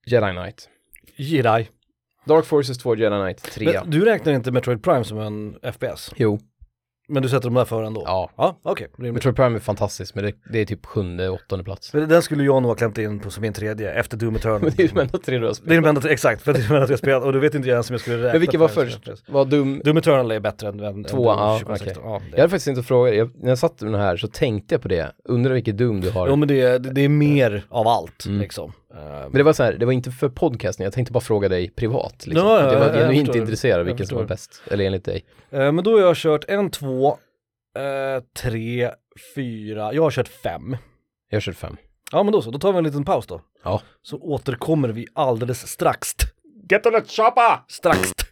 [SPEAKER 2] Jedi Knight.
[SPEAKER 1] Jedi.
[SPEAKER 2] Dark Forces 2, Jedi Knight, trea.
[SPEAKER 1] Men Du räknar inte Metroid Prime som en FPS,
[SPEAKER 2] Jo,
[SPEAKER 1] men du sätter dem där före ändå?
[SPEAKER 2] ja.
[SPEAKER 1] Ja, okej. rimligt.
[SPEAKER 2] Metroid Prime är fantastiskt, men det, det är typ sjunde, åttonde plats.
[SPEAKER 1] För Den skulle jag nog ha klämt in på som min tredje, efter Doom Eternal.
[SPEAKER 2] Men det är ju de enda tre du har
[SPEAKER 1] Det är
[SPEAKER 2] spelat.
[SPEAKER 1] de enda tre, exakt, för det är de enda tre jag spelat och du vet inte jag ens om jag skulle räkna.
[SPEAKER 2] Men vilken var
[SPEAKER 1] till den.
[SPEAKER 2] först? Vad dum.
[SPEAKER 1] Doom Eternal är bättre än, än
[SPEAKER 2] Tvåa,
[SPEAKER 1] än Doom
[SPEAKER 2] ja,
[SPEAKER 1] 2016. ja,
[SPEAKER 2] Jag
[SPEAKER 1] det.
[SPEAKER 2] hade faktiskt inte frågat, jag, när jag satt med den här så tänkte jag på det. Undrar vilket Doom du har.
[SPEAKER 1] Jo men det är, det är mer av allt
[SPEAKER 2] Mm.
[SPEAKER 1] liksom. Eh,
[SPEAKER 2] Men det var så här, det var inte för podcasten, jag tänkte bara fråga dig privat. Liksom.
[SPEAKER 1] Ja, ja,
[SPEAKER 2] Att jag
[SPEAKER 1] ja,
[SPEAKER 2] var
[SPEAKER 1] jag
[SPEAKER 2] genuint
[SPEAKER 1] förstår.
[SPEAKER 2] intresserad
[SPEAKER 1] Jag
[SPEAKER 2] av vilken som var
[SPEAKER 1] förstår.
[SPEAKER 2] bäst, eller enligt dig.
[SPEAKER 1] eh, men då har jag kört en, två, eh, tre, fyra, jag har kört fem.
[SPEAKER 2] Jag körde fem.
[SPEAKER 1] Ja men då så, då tar vi en liten paus då.
[SPEAKER 2] Ja.
[SPEAKER 1] Så återkommer vi alldeles strax. Get on the choppa! Strax.